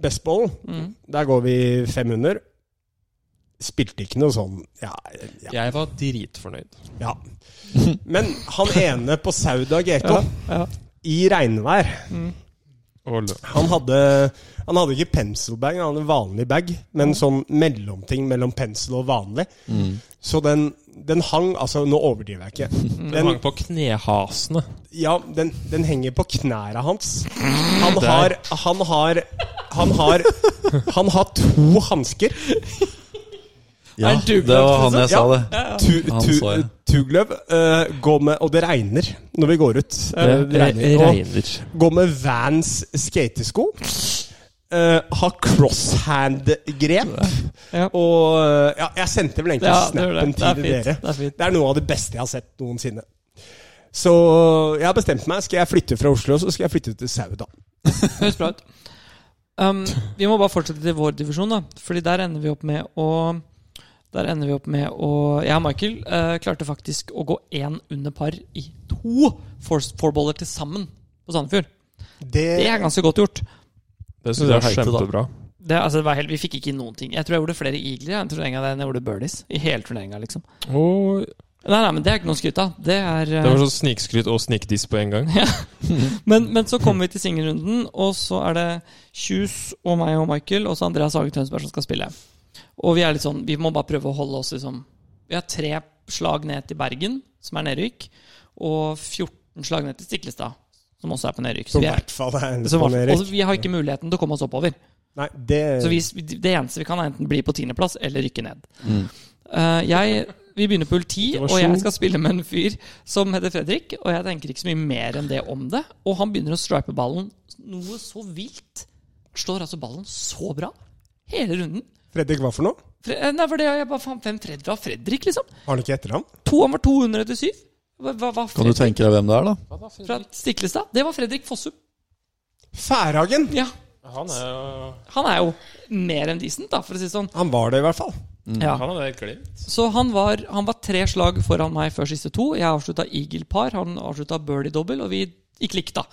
Speaker 2: bestballen,
Speaker 1: Mm.
Speaker 2: der går vi fem under. Spilte ikke noe sånn ja, ja,
Speaker 4: Jeg var dritfornøyd.
Speaker 2: ja. Men han ene på Sauda GK,
Speaker 1: Ja, ja.
Speaker 2: i regnvær
Speaker 4: Og løp.
Speaker 2: han hadde, han hadde ikke penselbag, han hadde en vanlig bag, men sånn mellomting mellom pensel og vanlig. Så den, den hang Altså, nå overdriver jeg ikke.
Speaker 4: Den
Speaker 2: Den,
Speaker 4: hang på knehasene.
Speaker 2: ja, den, den henger på knæra hans. Han har Han har Han har, han har to hansker.
Speaker 3: Ja,
Speaker 1: Er du
Speaker 3: det var
Speaker 1: glad,
Speaker 3: han jeg sa det.
Speaker 2: Tu,
Speaker 3: Han
Speaker 2: tu,
Speaker 3: sa, ja.
Speaker 2: Tugløv. eh, gå med Og det regner når vi går ut. Eh, Og- Gå med Vans skatesko. eh, ha crosshand-grep.
Speaker 1: Ja.
Speaker 2: Og eh, ja, jeg sendte vel egentlig
Speaker 1: Ja, det gjør
Speaker 2: snappen
Speaker 1: det. Det er
Speaker 2: til
Speaker 1: fint.
Speaker 2: dere.
Speaker 1: Det er fint.
Speaker 2: Det er noe av det beste jeg har sett noensinne. Så jeg har bestemt meg. Skal jeg flytte fra Oslo, så skal jeg flytte til Sauda.
Speaker 1: Høres bra ut. Um, vi må bare fortsette til vår divisjon, da. Fordi der ender vi opp med å Der ender vi opp med å Jeg og Michael eh, klarte faktisk å gå én under par i to fours- fourballer til sammen på Sandefjord. Det er ganske godt gjort.
Speaker 4: Det syns jeg
Speaker 3: Det
Speaker 4: var
Speaker 3: er heite, da.
Speaker 4: kjempebra.
Speaker 1: Det, altså, det var helt, vi fikk ikke inn noen ting. Jeg tror jeg gjorde flere eagler jeg, i en turnering av det enn jeg gjorde birdies. I hele turneringa, liksom.
Speaker 4: Og
Speaker 1: Nei, nei, men det er ikke noe å skryte av. Det er eh,
Speaker 4: det var sånn snikskryt og snikdiss på en gang.
Speaker 1: Men, men så kommer vi til singelrunden, og så er det Kjus og meg og Michael og så Andreas Hage Tønsberg som skal spille. Og vi er litt sånn, vi må bare prøve å holde oss liksom Vi har tre slag ned til Bergen, som er nedrykk, og 14 slag ned til Stiklestad, som også er på nedrykk. Så
Speaker 2: Som i
Speaker 1: vi, er,
Speaker 2: hvert fall er en
Speaker 1: så,
Speaker 2: Erik.
Speaker 1: og vi har ikke muligheten til å komme oss oppover.
Speaker 2: Nei, det
Speaker 1: Så vi, det eneste vi kan, er enten bli på tiendeplass eller rykke ned.
Speaker 3: Mm.
Speaker 1: Eh, jeg, vi begynner på hull ti, og
Speaker 4: Motivasjon.
Speaker 1: jeg skal spille med en fyr som heter Fredrik. Og jeg tenker ikke så mye mer enn det om det. Og han begynner å stripe ballen noe så vilt. Slår altså ballen så bra hele runden.
Speaker 2: Fredrik, hva for noe?
Speaker 1: Fre eh, nei, for det, jeg bare, faen, Hvem Fred var Fredrik, liksom?
Speaker 2: Har han ikke etternavn?
Speaker 1: To, han var 200 til syv. Hva, hva, hva
Speaker 3: Kan du
Speaker 1: Fredrik
Speaker 3: tenke deg hvem det er, da?
Speaker 1: fra Stiklestad? Det var Fredrik Fossum.
Speaker 2: Færhagen!
Speaker 1: Ja,
Speaker 4: Han er jo
Speaker 1: han er jo mer enn decent, da, for å si det sånn.
Speaker 2: Han var det, i hvert fall.
Speaker 3: Mm.
Speaker 1: Ja.
Speaker 4: Han hadde helt glemt.
Speaker 1: Så han var, han var tre slag foran meg før siste to. Jeg avslutta eagle-par, han avslutta birdie-dobbel, og vi gikk likt, da.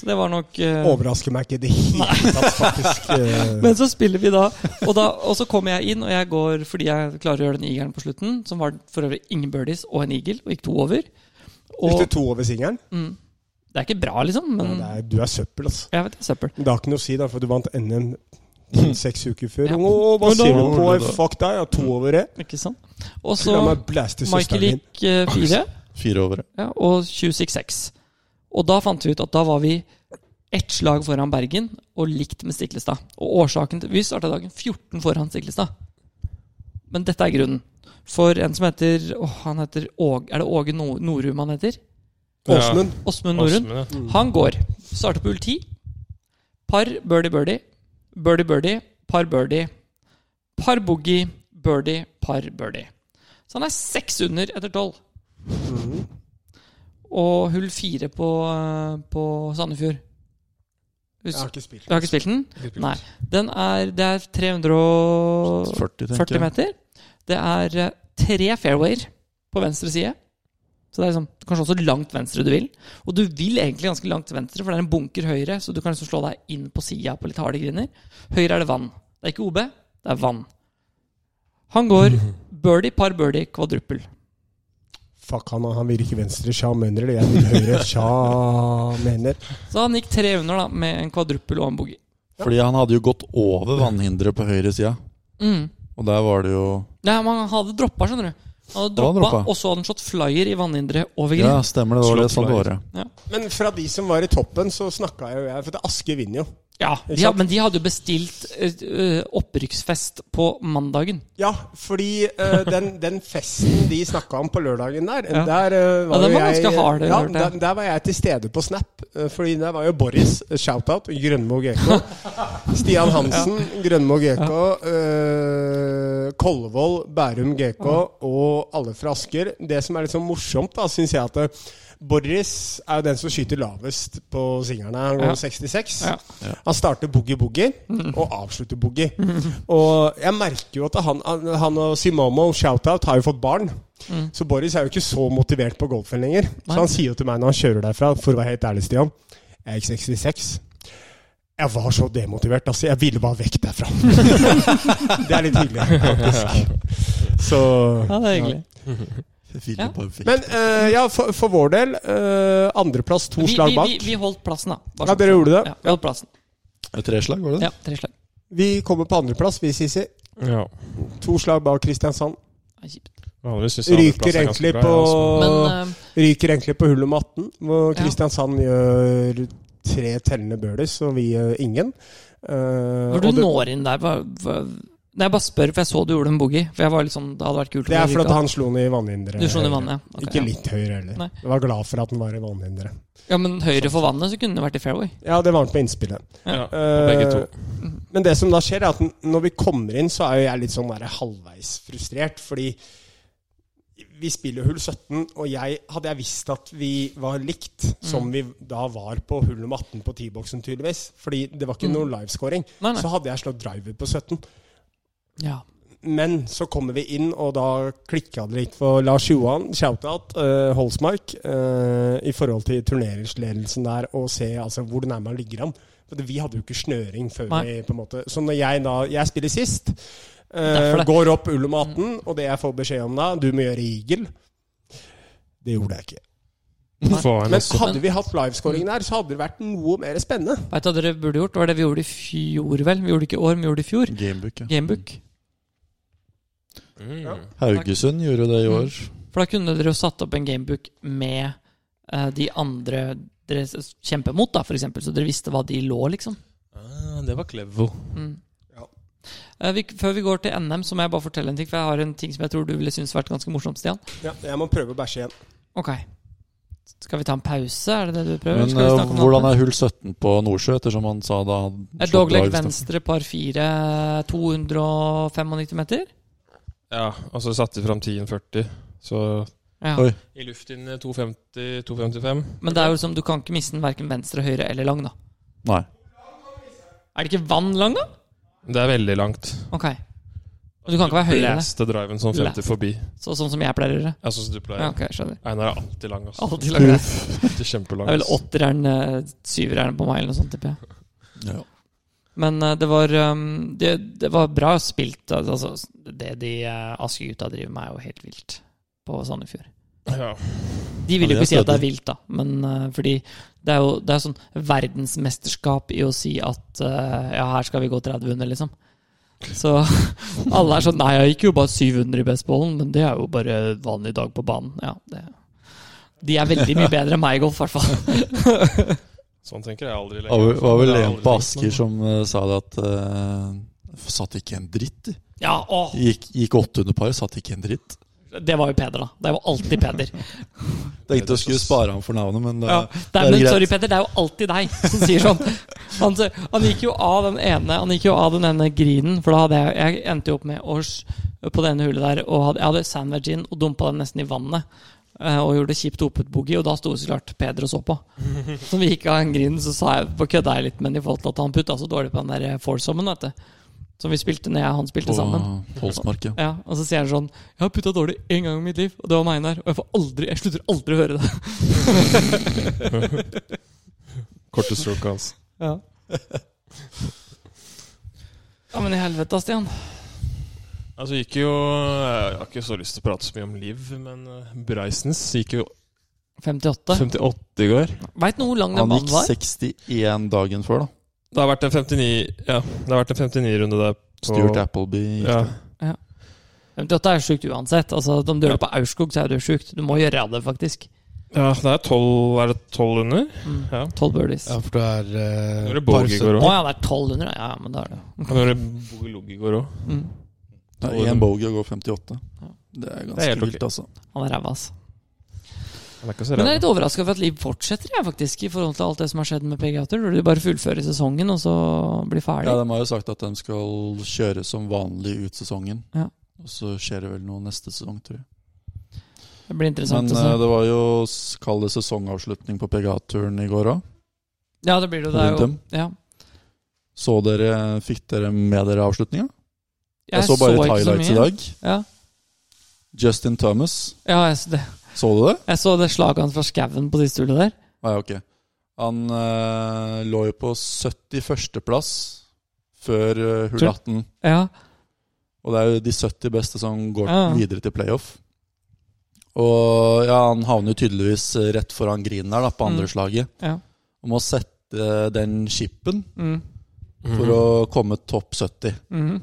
Speaker 1: Så det var nok eh,
Speaker 2: Overrasker meg ikke i det hele tatt, faktisk. eh.
Speaker 1: Men så spiller vi da og, da, og så kommer jeg inn, og jeg går fordi jeg klarer å gjøre den eageren på slutten, som var for øvrig ingen birdies og en eagle, og gikk to over.
Speaker 2: Gikk
Speaker 1: Og
Speaker 2: du to over singelen?
Speaker 1: mm, Det er ikke bra, liksom, men
Speaker 2: Nei, det er- Du er søppel, altså.
Speaker 1: jeg vet det er søppel.
Speaker 2: Men Det har ikke noe å si, da, for du vant NM seks uker før.
Speaker 1: Mm. Ja.
Speaker 2: Å, hva
Speaker 1: Men da-
Speaker 2: sier du på? Fuck deg, jeg har
Speaker 1: Mm.
Speaker 2: to over det.
Speaker 1: Ikke sant? Og så
Speaker 2: La meg blaste
Speaker 1: Michael
Speaker 2: søsteren din.
Speaker 1: gikk eh, fire,
Speaker 3: Fire over.
Speaker 1: ja, og 26-6. Og da fant vi ut at da var vi ett slag foran Bergen og likt med Stiklestad. Og årsaken til Vi starta dagen 14 foran Stiklestad. Men dette er grunnen. For en som heter åh, han heter Åge, Er det Åge No- Norum han heter?
Speaker 2: Åsmund.
Speaker 1: Åsmund Norun.
Speaker 4: Åsmund, ja.
Speaker 1: Han går. Starter på hull 10. Par birdie birdie. Birdie birdie. Par birdie. Par boogie. Birdie. Par birdie. Så han er seks under etter tolv. Og hull fire på, eh, på Sandefjord.
Speaker 2: Jeg har
Speaker 1: Husk,
Speaker 2: ikke spilt.
Speaker 1: du har ikke spilt den? Nei. Den er, det er 340
Speaker 3: 40, tenker jeg.
Speaker 1: meter. Det er eh, tre fairwayer på venstre side. Så det er liksom, du kan slå så langt venstre du vil. Og du vil egentlig ganske langt til venstre, for det er en bunker høyre, så du kan liksom slå deg inn på sida på litt harde griner. Høyre er det vann. Det er ikke OB, det er vann. Han går birdie, par birdie, kvadruppel.
Speaker 2: Fuck han, han vil ikke venstre. Sja mener det. Jeg vil høyre. Sja mener.
Speaker 1: Så han gikk tre under da, med en kvadruppel og en boogie.
Speaker 3: Fordi han hadde jo gått over vannhinderet på høyre sida.
Speaker 1: Mm.
Speaker 3: Og der var det jo
Speaker 1: Nei, men han hadde droppa, skjønner du. Han hadde
Speaker 3: Ja, han
Speaker 1: droppa,
Speaker 3: droppet.
Speaker 1: og så hadde han slått flyer i vannhinderet over
Speaker 3: Ja,
Speaker 1: grind.
Speaker 3: stemmer det. det var det sånn det var. ja.
Speaker 2: Men fra de som var i toppen, så snakka jo jeg For det Aske vinner jo.
Speaker 1: Ja,
Speaker 2: Ikke
Speaker 1: de, had-
Speaker 2: sant?
Speaker 1: Men de hadde jo bestilt eh, eh, opprykksfest på mandagen.
Speaker 2: Ja, fordi eh, den, den festen de snakka om på lørdagen der,
Speaker 1: Ja.
Speaker 2: der eh,
Speaker 1: Ja,
Speaker 2: var
Speaker 1: den
Speaker 2: jo
Speaker 1: var
Speaker 2: jeg
Speaker 1: ganske hard,
Speaker 2: ja,
Speaker 1: hørte jeg.
Speaker 2: der, der var jeg til stede på Snap. eh, fordi der var jo Boris, eh, shout-out, Grønmo GK. Stian Hansen, Grønmo GK. eh, Kolvold, Bærum GK og alle fra Asker. Det som er litt sånn morsomt, da, syns jeg at eh, Boris er jo den som skyter lavest på singerne. Han går
Speaker 1: Ja.
Speaker 2: 66.
Speaker 1: Ja. Mm.
Speaker 2: Han starter boogie-boogie og avslutter boogie. Og jeg merker jo at han, han- han og Simomo, shout-out, har jo fått barn. Så Boris er jo ikke så motivert på golfen lenger.
Speaker 1: Mm. Nei.
Speaker 2: Så han sier jo til meg når han kjører derfra, for å være helt ærlig, Stian Jeg gikk 66. Jeg var så demotivert. Altså, jeg ville bare vekk derfra. det er litt hyggelig, faktisk. Så
Speaker 1: Ja, det er hyggelig.
Speaker 3: Filip
Speaker 1: Ja.
Speaker 3: har jo fikk-
Speaker 2: Men eh, ja, for, for vår del, eh, andreplass to
Speaker 1: Vi,
Speaker 2: slag
Speaker 1: vi,
Speaker 2: bak.
Speaker 1: vi, vi holdt plassen, da. Bare
Speaker 2: Ja,
Speaker 1: sånn.
Speaker 2: dere gjorde det.
Speaker 1: Ja, vi holdt plassen.
Speaker 3: Tre slag, var det det?
Speaker 1: Ja, tre slag.
Speaker 2: Vi kommer på andreplass, vi, Sisi.
Speaker 4: Ja.
Speaker 2: To slag bak Kristiansand.
Speaker 1: Ja, kjipt.
Speaker 4: Vanligvis synes jeg
Speaker 2: Ryker
Speaker 4: andreplass er ganske
Speaker 2: egentlig,
Speaker 4: bra,
Speaker 2: på,
Speaker 4: jeg også.
Speaker 1: Men eh,
Speaker 2: ryker egentlig på hull nummer 18, hvor
Speaker 1: Ja.
Speaker 2: Kristiansand gjør tre tellende birdies, og vi gjør ingen. Eh,
Speaker 1: når
Speaker 2: og
Speaker 1: du
Speaker 2: det,
Speaker 1: når inn der hva, hva, Nei, jeg bare spør, for jeg så du gjorde en boogie. For jeg var litt sånn, Det hadde vært kult. om
Speaker 2: det er
Speaker 1: du
Speaker 2: fordi
Speaker 1: ryka.
Speaker 2: han slo den i vannhinderet.
Speaker 1: Du slo den i vannet. ja. Ok,
Speaker 2: Ikke
Speaker 1: ja.
Speaker 2: litt høyere heller.
Speaker 1: Nei.
Speaker 2: Jeg var glad for at den var i vannhinderet.
Speaker 1: Ja, Men høyre for vannet, så kunne det vært i fairway.
Speaker 2: Ja, det var den på innspillet.
Speaker 4: Ja, på
Speaker 2: Eh,
Speaker 4: begge to.
Speaker 2: Men det som da skjer, er at n- når vi kommer inn, så er jo jeg litt sånn der halvveis frustrert. Fordi vi spiller hull 17, og jeg, hadde jeg visst at vi var likt, som
Speaker 1: Mm.
Speaker 2: vi da var på hull nummer 18 på T-boksen, tydeligvis Fordi det var ikke
Speaker 1: Mm.
Speaker 2: noe livescoring.
Speaker 1: Nei, nei.
Speaker 2: Så hadde jeg slått driver på 17.
Speaker 1: Ja.
Speaker 2: Men så kommer vi inn, og da klikka det litt for Lars Johan, shout-out, eh, Holsmark, eh, i forhold til turneringsledelsen der, og se altså, hvor nærme han ligger an. For vi hadde jo ikke snøring før
Speaker 1: Nei.
Speaker 2: vi på en måte Så når jeg da Jeg spiller sist, eh,
Speaker 1: Derfor det. Mm.
Speaker 2: går opp ull om 18, og det jeg får beskjed om da, du må gjøre eagle. Det gjorde jeg ikke.
Speaker 4: Faen,
Speaker 2: Men
Speaker 4: altså.
Speaker 2: hadde vi hatt livescoring der, så hadde det vært noe mer spennende.
Speaker 1: Veit du hva dere burde gjort? Det var det vi gjorde i fjor, vel? Vi gjorde det ikke i år, men vi gjorde det i fjor.
Speaker 3: Gamebook, ja.
Speaker 1: Gamebook.
Speaker 4: Mm.
Speaker 3: Haugesund gjorde det i år.
Speaker 1: For da kunne dere jo satt opp en gamebook med eh, de andre dere s- kjemper mot, da, for eksempel. Så dere visste hva de lå, liksom.
Speaker 4: Ah, det var clever.
Speaker 1: Mm.
Speaker 2: Ja.
Speaker 1: Eh, vi, før vi går til NM, så må jeg bare fortelle en ting. For jeg har en ting som jeg tror du ville synes vært ganske morsomt, Stian.
Speaker 2: Ja, jeg må prøve å bæsje igjen.
Speaker 1: Ok. Skal vi ta en pause? Er det det du prøver?
Speaker 3: Men
Speaker 1: Skal vi
Speaker 3: eh,
Speaker 1: snakke om noe
Speaker 3: hvordan
Speaker 1: annet?
Speaker 3: er hull 17 på Nordsjø, ettersom han sa da han
Speaker 1: Eh,
Speaker 3: slått
Speaker 1: Dogleg
Speaker 3: lag-
Speaker 1: venstre par fire, 295 meter.
Speaker 4: Ja, og så satte de fram 10,40. Så
Speaker 1: Ja.
Speaker 3: Oi.
Speaker 4: i luft inn 2,50, 2,55.
Speaker 1: Men det er jo liksom, du kan ikke miste den verken venstre, høyre eller lang, da.
Speaker 3: Nei.
Speaker 1: Er det ikke vann lang, da?
Speaker 4: Det er veldig langt.
Speaker 1: Ok. Men du kan ikke være høyere enn det.
Speaker 4: Blæste driven som 50
Speaker 1: Blæste.
Speaker 4: forbi.
Speaker 1: Så, sånn som jeg pleier å gjøre.
Speaker 4: Jeg syns du pleier.
Speaker 1: Ja, ok, jeg skjønner.
Speaker 4: Einar er alltid lang. ass.
Speaker 1: Alltid lager det.
Speaker 4: Alltid kjempelang.
Speaker 1: Det er vel
Speaker 4: ass.
Speaker 1: åtteren, eh, syveren på meg, eller noe sånt, tipper jeg.
Speaker 3: Ja.
Speaker 1: Men eh, det var, um, det, det var bra spilt. Altså, det de uh, Askegutta driver med, er jo helt vilt på Sandefjord.
Speaker 4: Ja.
Speaker 1: De vil jo
Speaker 3: Ja, det er
Speaker 1: ikke si at det er
Speaker 3: stødig.
Speaker 1: vilt, da. Men eh, fordi det er jo det er sånn verdensmesterskap i å si at eh, ja, her skal vi gå 30 under, liksom. Så alle er sånn Nei, jeg gikk jo bare 700 i bestballen, men det er jo bare vanlig dag på banen. Ja, det De er veldig mye bedre enn meg i golf, i hvert fall.
Speaker 4: Sånn tenker jeg aldri
Speaker 3: Det var vel- var
Speaker 4: Det
Speaker 3: vel
Speaker 4: har jeg
Speaker 3: en på
Speaker 4: aldri
Speaker 3: Asker
Speaker 4: gjort,
Speaker 3: som eh, sa det at eh, Satt ikke en dritt. i.
Speaker 1: Ja, å,
Speaker 3: Gikk, gikk 800 par, satt ikke en dritt.
Speaker 1: det var jo Peder, da. Det er jo alltid Peder.
Speaker 3: Tenkte jeg skulle spare ham for navnet, men det,
Speaker 1: Ja. Det
Speaker 3: det
Speaker 1: er,
Speaker 3: er
Speaker 1: men
Speaker 3: greit.
Speaker 1: sorry, Petter, det er jo alltid deg som sier sånn. Han, sier- han gikk jo av den ene Han gikk jo av den ene grinen, for da hadde jeg Jeg endte jo opp med års på det ene hullet der, og hadde, jeg hadde sandwich in og dumpa den nesten i vannet. eh, Og gjorde det kjipt opet boogie, og da sto så klart Peder og så på. Så vi gikk av den grinen, så sa jeg, kødda jeg litt med den i forhold til at han putta så dårlig på den der foursomen, vet du. Som vi spilte når jeg og han spilte
Speaker 3: på
Speaker 1: sammen.
Speaker 3: Holsmark, ja.
Speaker 1: Ja, Og så sier han sånn Jeg har putta dårlig én gang i mitt liv, og det var meg, Einar. Og jeg, får aldri, jeg slutter aldri å høre det.
Speaker 4: Korte stroke
Speaker 6: altså.
Speaker 4: hans.
Speaker 1: Ja. ja, men i helvete, Stian.
Speaker 4: Altså gikk jo eh, Jeg har ikke så lyst til å prate så mye om Liv, men eh, Breisens gikk jo
Speaker 1: 58.
Speaker 4: 58 i går.
Speaker 1: Veit du hvor lang den
Speaker 3: Han
Speaker 1: mannen
Speaker 3: gikk
Speaker 1: var?
Speaker 3: 61 dagen før, da.
Speaker 4: Det har vært en 59 Ja, det har vært en 59-runde der. på-
Speaker 3: Stuart Appleby gikk
Speaker 4: Ja.
Speaker 1: 58 er sjukt uansett. Altså, Om du gjør det på Aurskog, så er det jo sjukt. Du må gjøre det, faktisk.
Speaker 4: ja, det er 12 Er det 12 under?
Speaker 1: Mm.
Speaker 4: Ja.
Speaker 1: 12 birdies.
Speaker 6: Ja, for det er eh,
Speaker 4: Når det bog i
Speaker 6: par-
Speaker 4: går
Speaker 1: Å
Speaker 4: òg.
Speaker 1: ja, det er 1200? Ja, men da er det jo
Speaker 4: Når det bog i logg i går òg.
Speaker 1: mm.
Speaker 3: Det er én bogey og går 58. Det er
Speaker 4: Det er
Speaker 3: ganske
Speaker 4: helt ok.
Speaker 3: vilt, altså.
Speaker 1: Han er ræva, altså.
Speaker 4: Han er ikke så
Speaker 1: Men jeg er
Speaker 4: ræv.
Speaker 1: litt overraska over at Liv fortsetter, jeg, faktisk, i forhold til alt det som har skjedd med PGA Tour. Burde de bare fullføre sesongen, og så bli ferdig?
Speaker 3: Ja, De har jo sagt at de skal kjøre som vanlig ut sesongen.
Speaker 1: Ja.
Speaker 3: Og så skjer det vel noe neste sesong, tror jeg.
Speaker 1: Det blir
Speaker 3: Men
Speaker 1: interessant å
Speaker 3: eh,
Speaker 1: se.
Speaker 3: det var jo s- kall det sesongavslutning på PGA-turen i går òg.
Speaker 1: Ja, det blir det jo. Det er jo
Speaker 3: rundt
Speaker 1: ja.
Speaker 3: Så dere, fikk dere med dere avslutninga? Jeg, så bare
Speaker 1: ikke så
Speaker 3: highlights i
Speaker 1: mye.
Speaker 3: dag.
Speaker 1: Ja,
Speaker 3: Justin Thomas,
Speaker 1: ja jeg, så det.
Speaker 3: så du det?
Speaker 1: jeg så det slaget hans fra skauen på siste hullet der.
Speaker 3: Nei, ok. Han eh, lå jo på 71.-plass før eh, hull
Speaker 1: Tror-
Speaker 3: 18.
Speaker 1: Ja.
Speaker 3: Og det er jo de 70 beste som går
Speaker 1: Ja.
Speaker 3: videre til playoff. Og ja, han havner jo tydeligvis eh, rett foran grinen her, da, på
Speaker 1: Mm.
Speaker 3: andre slaget.
Speaker 1: Ja.
Speaker 3: Om å sette eh, den chipen
Speaker 1: Mm.
Speaker 3: for å komme topp 70.
Speaker 1: Mhm.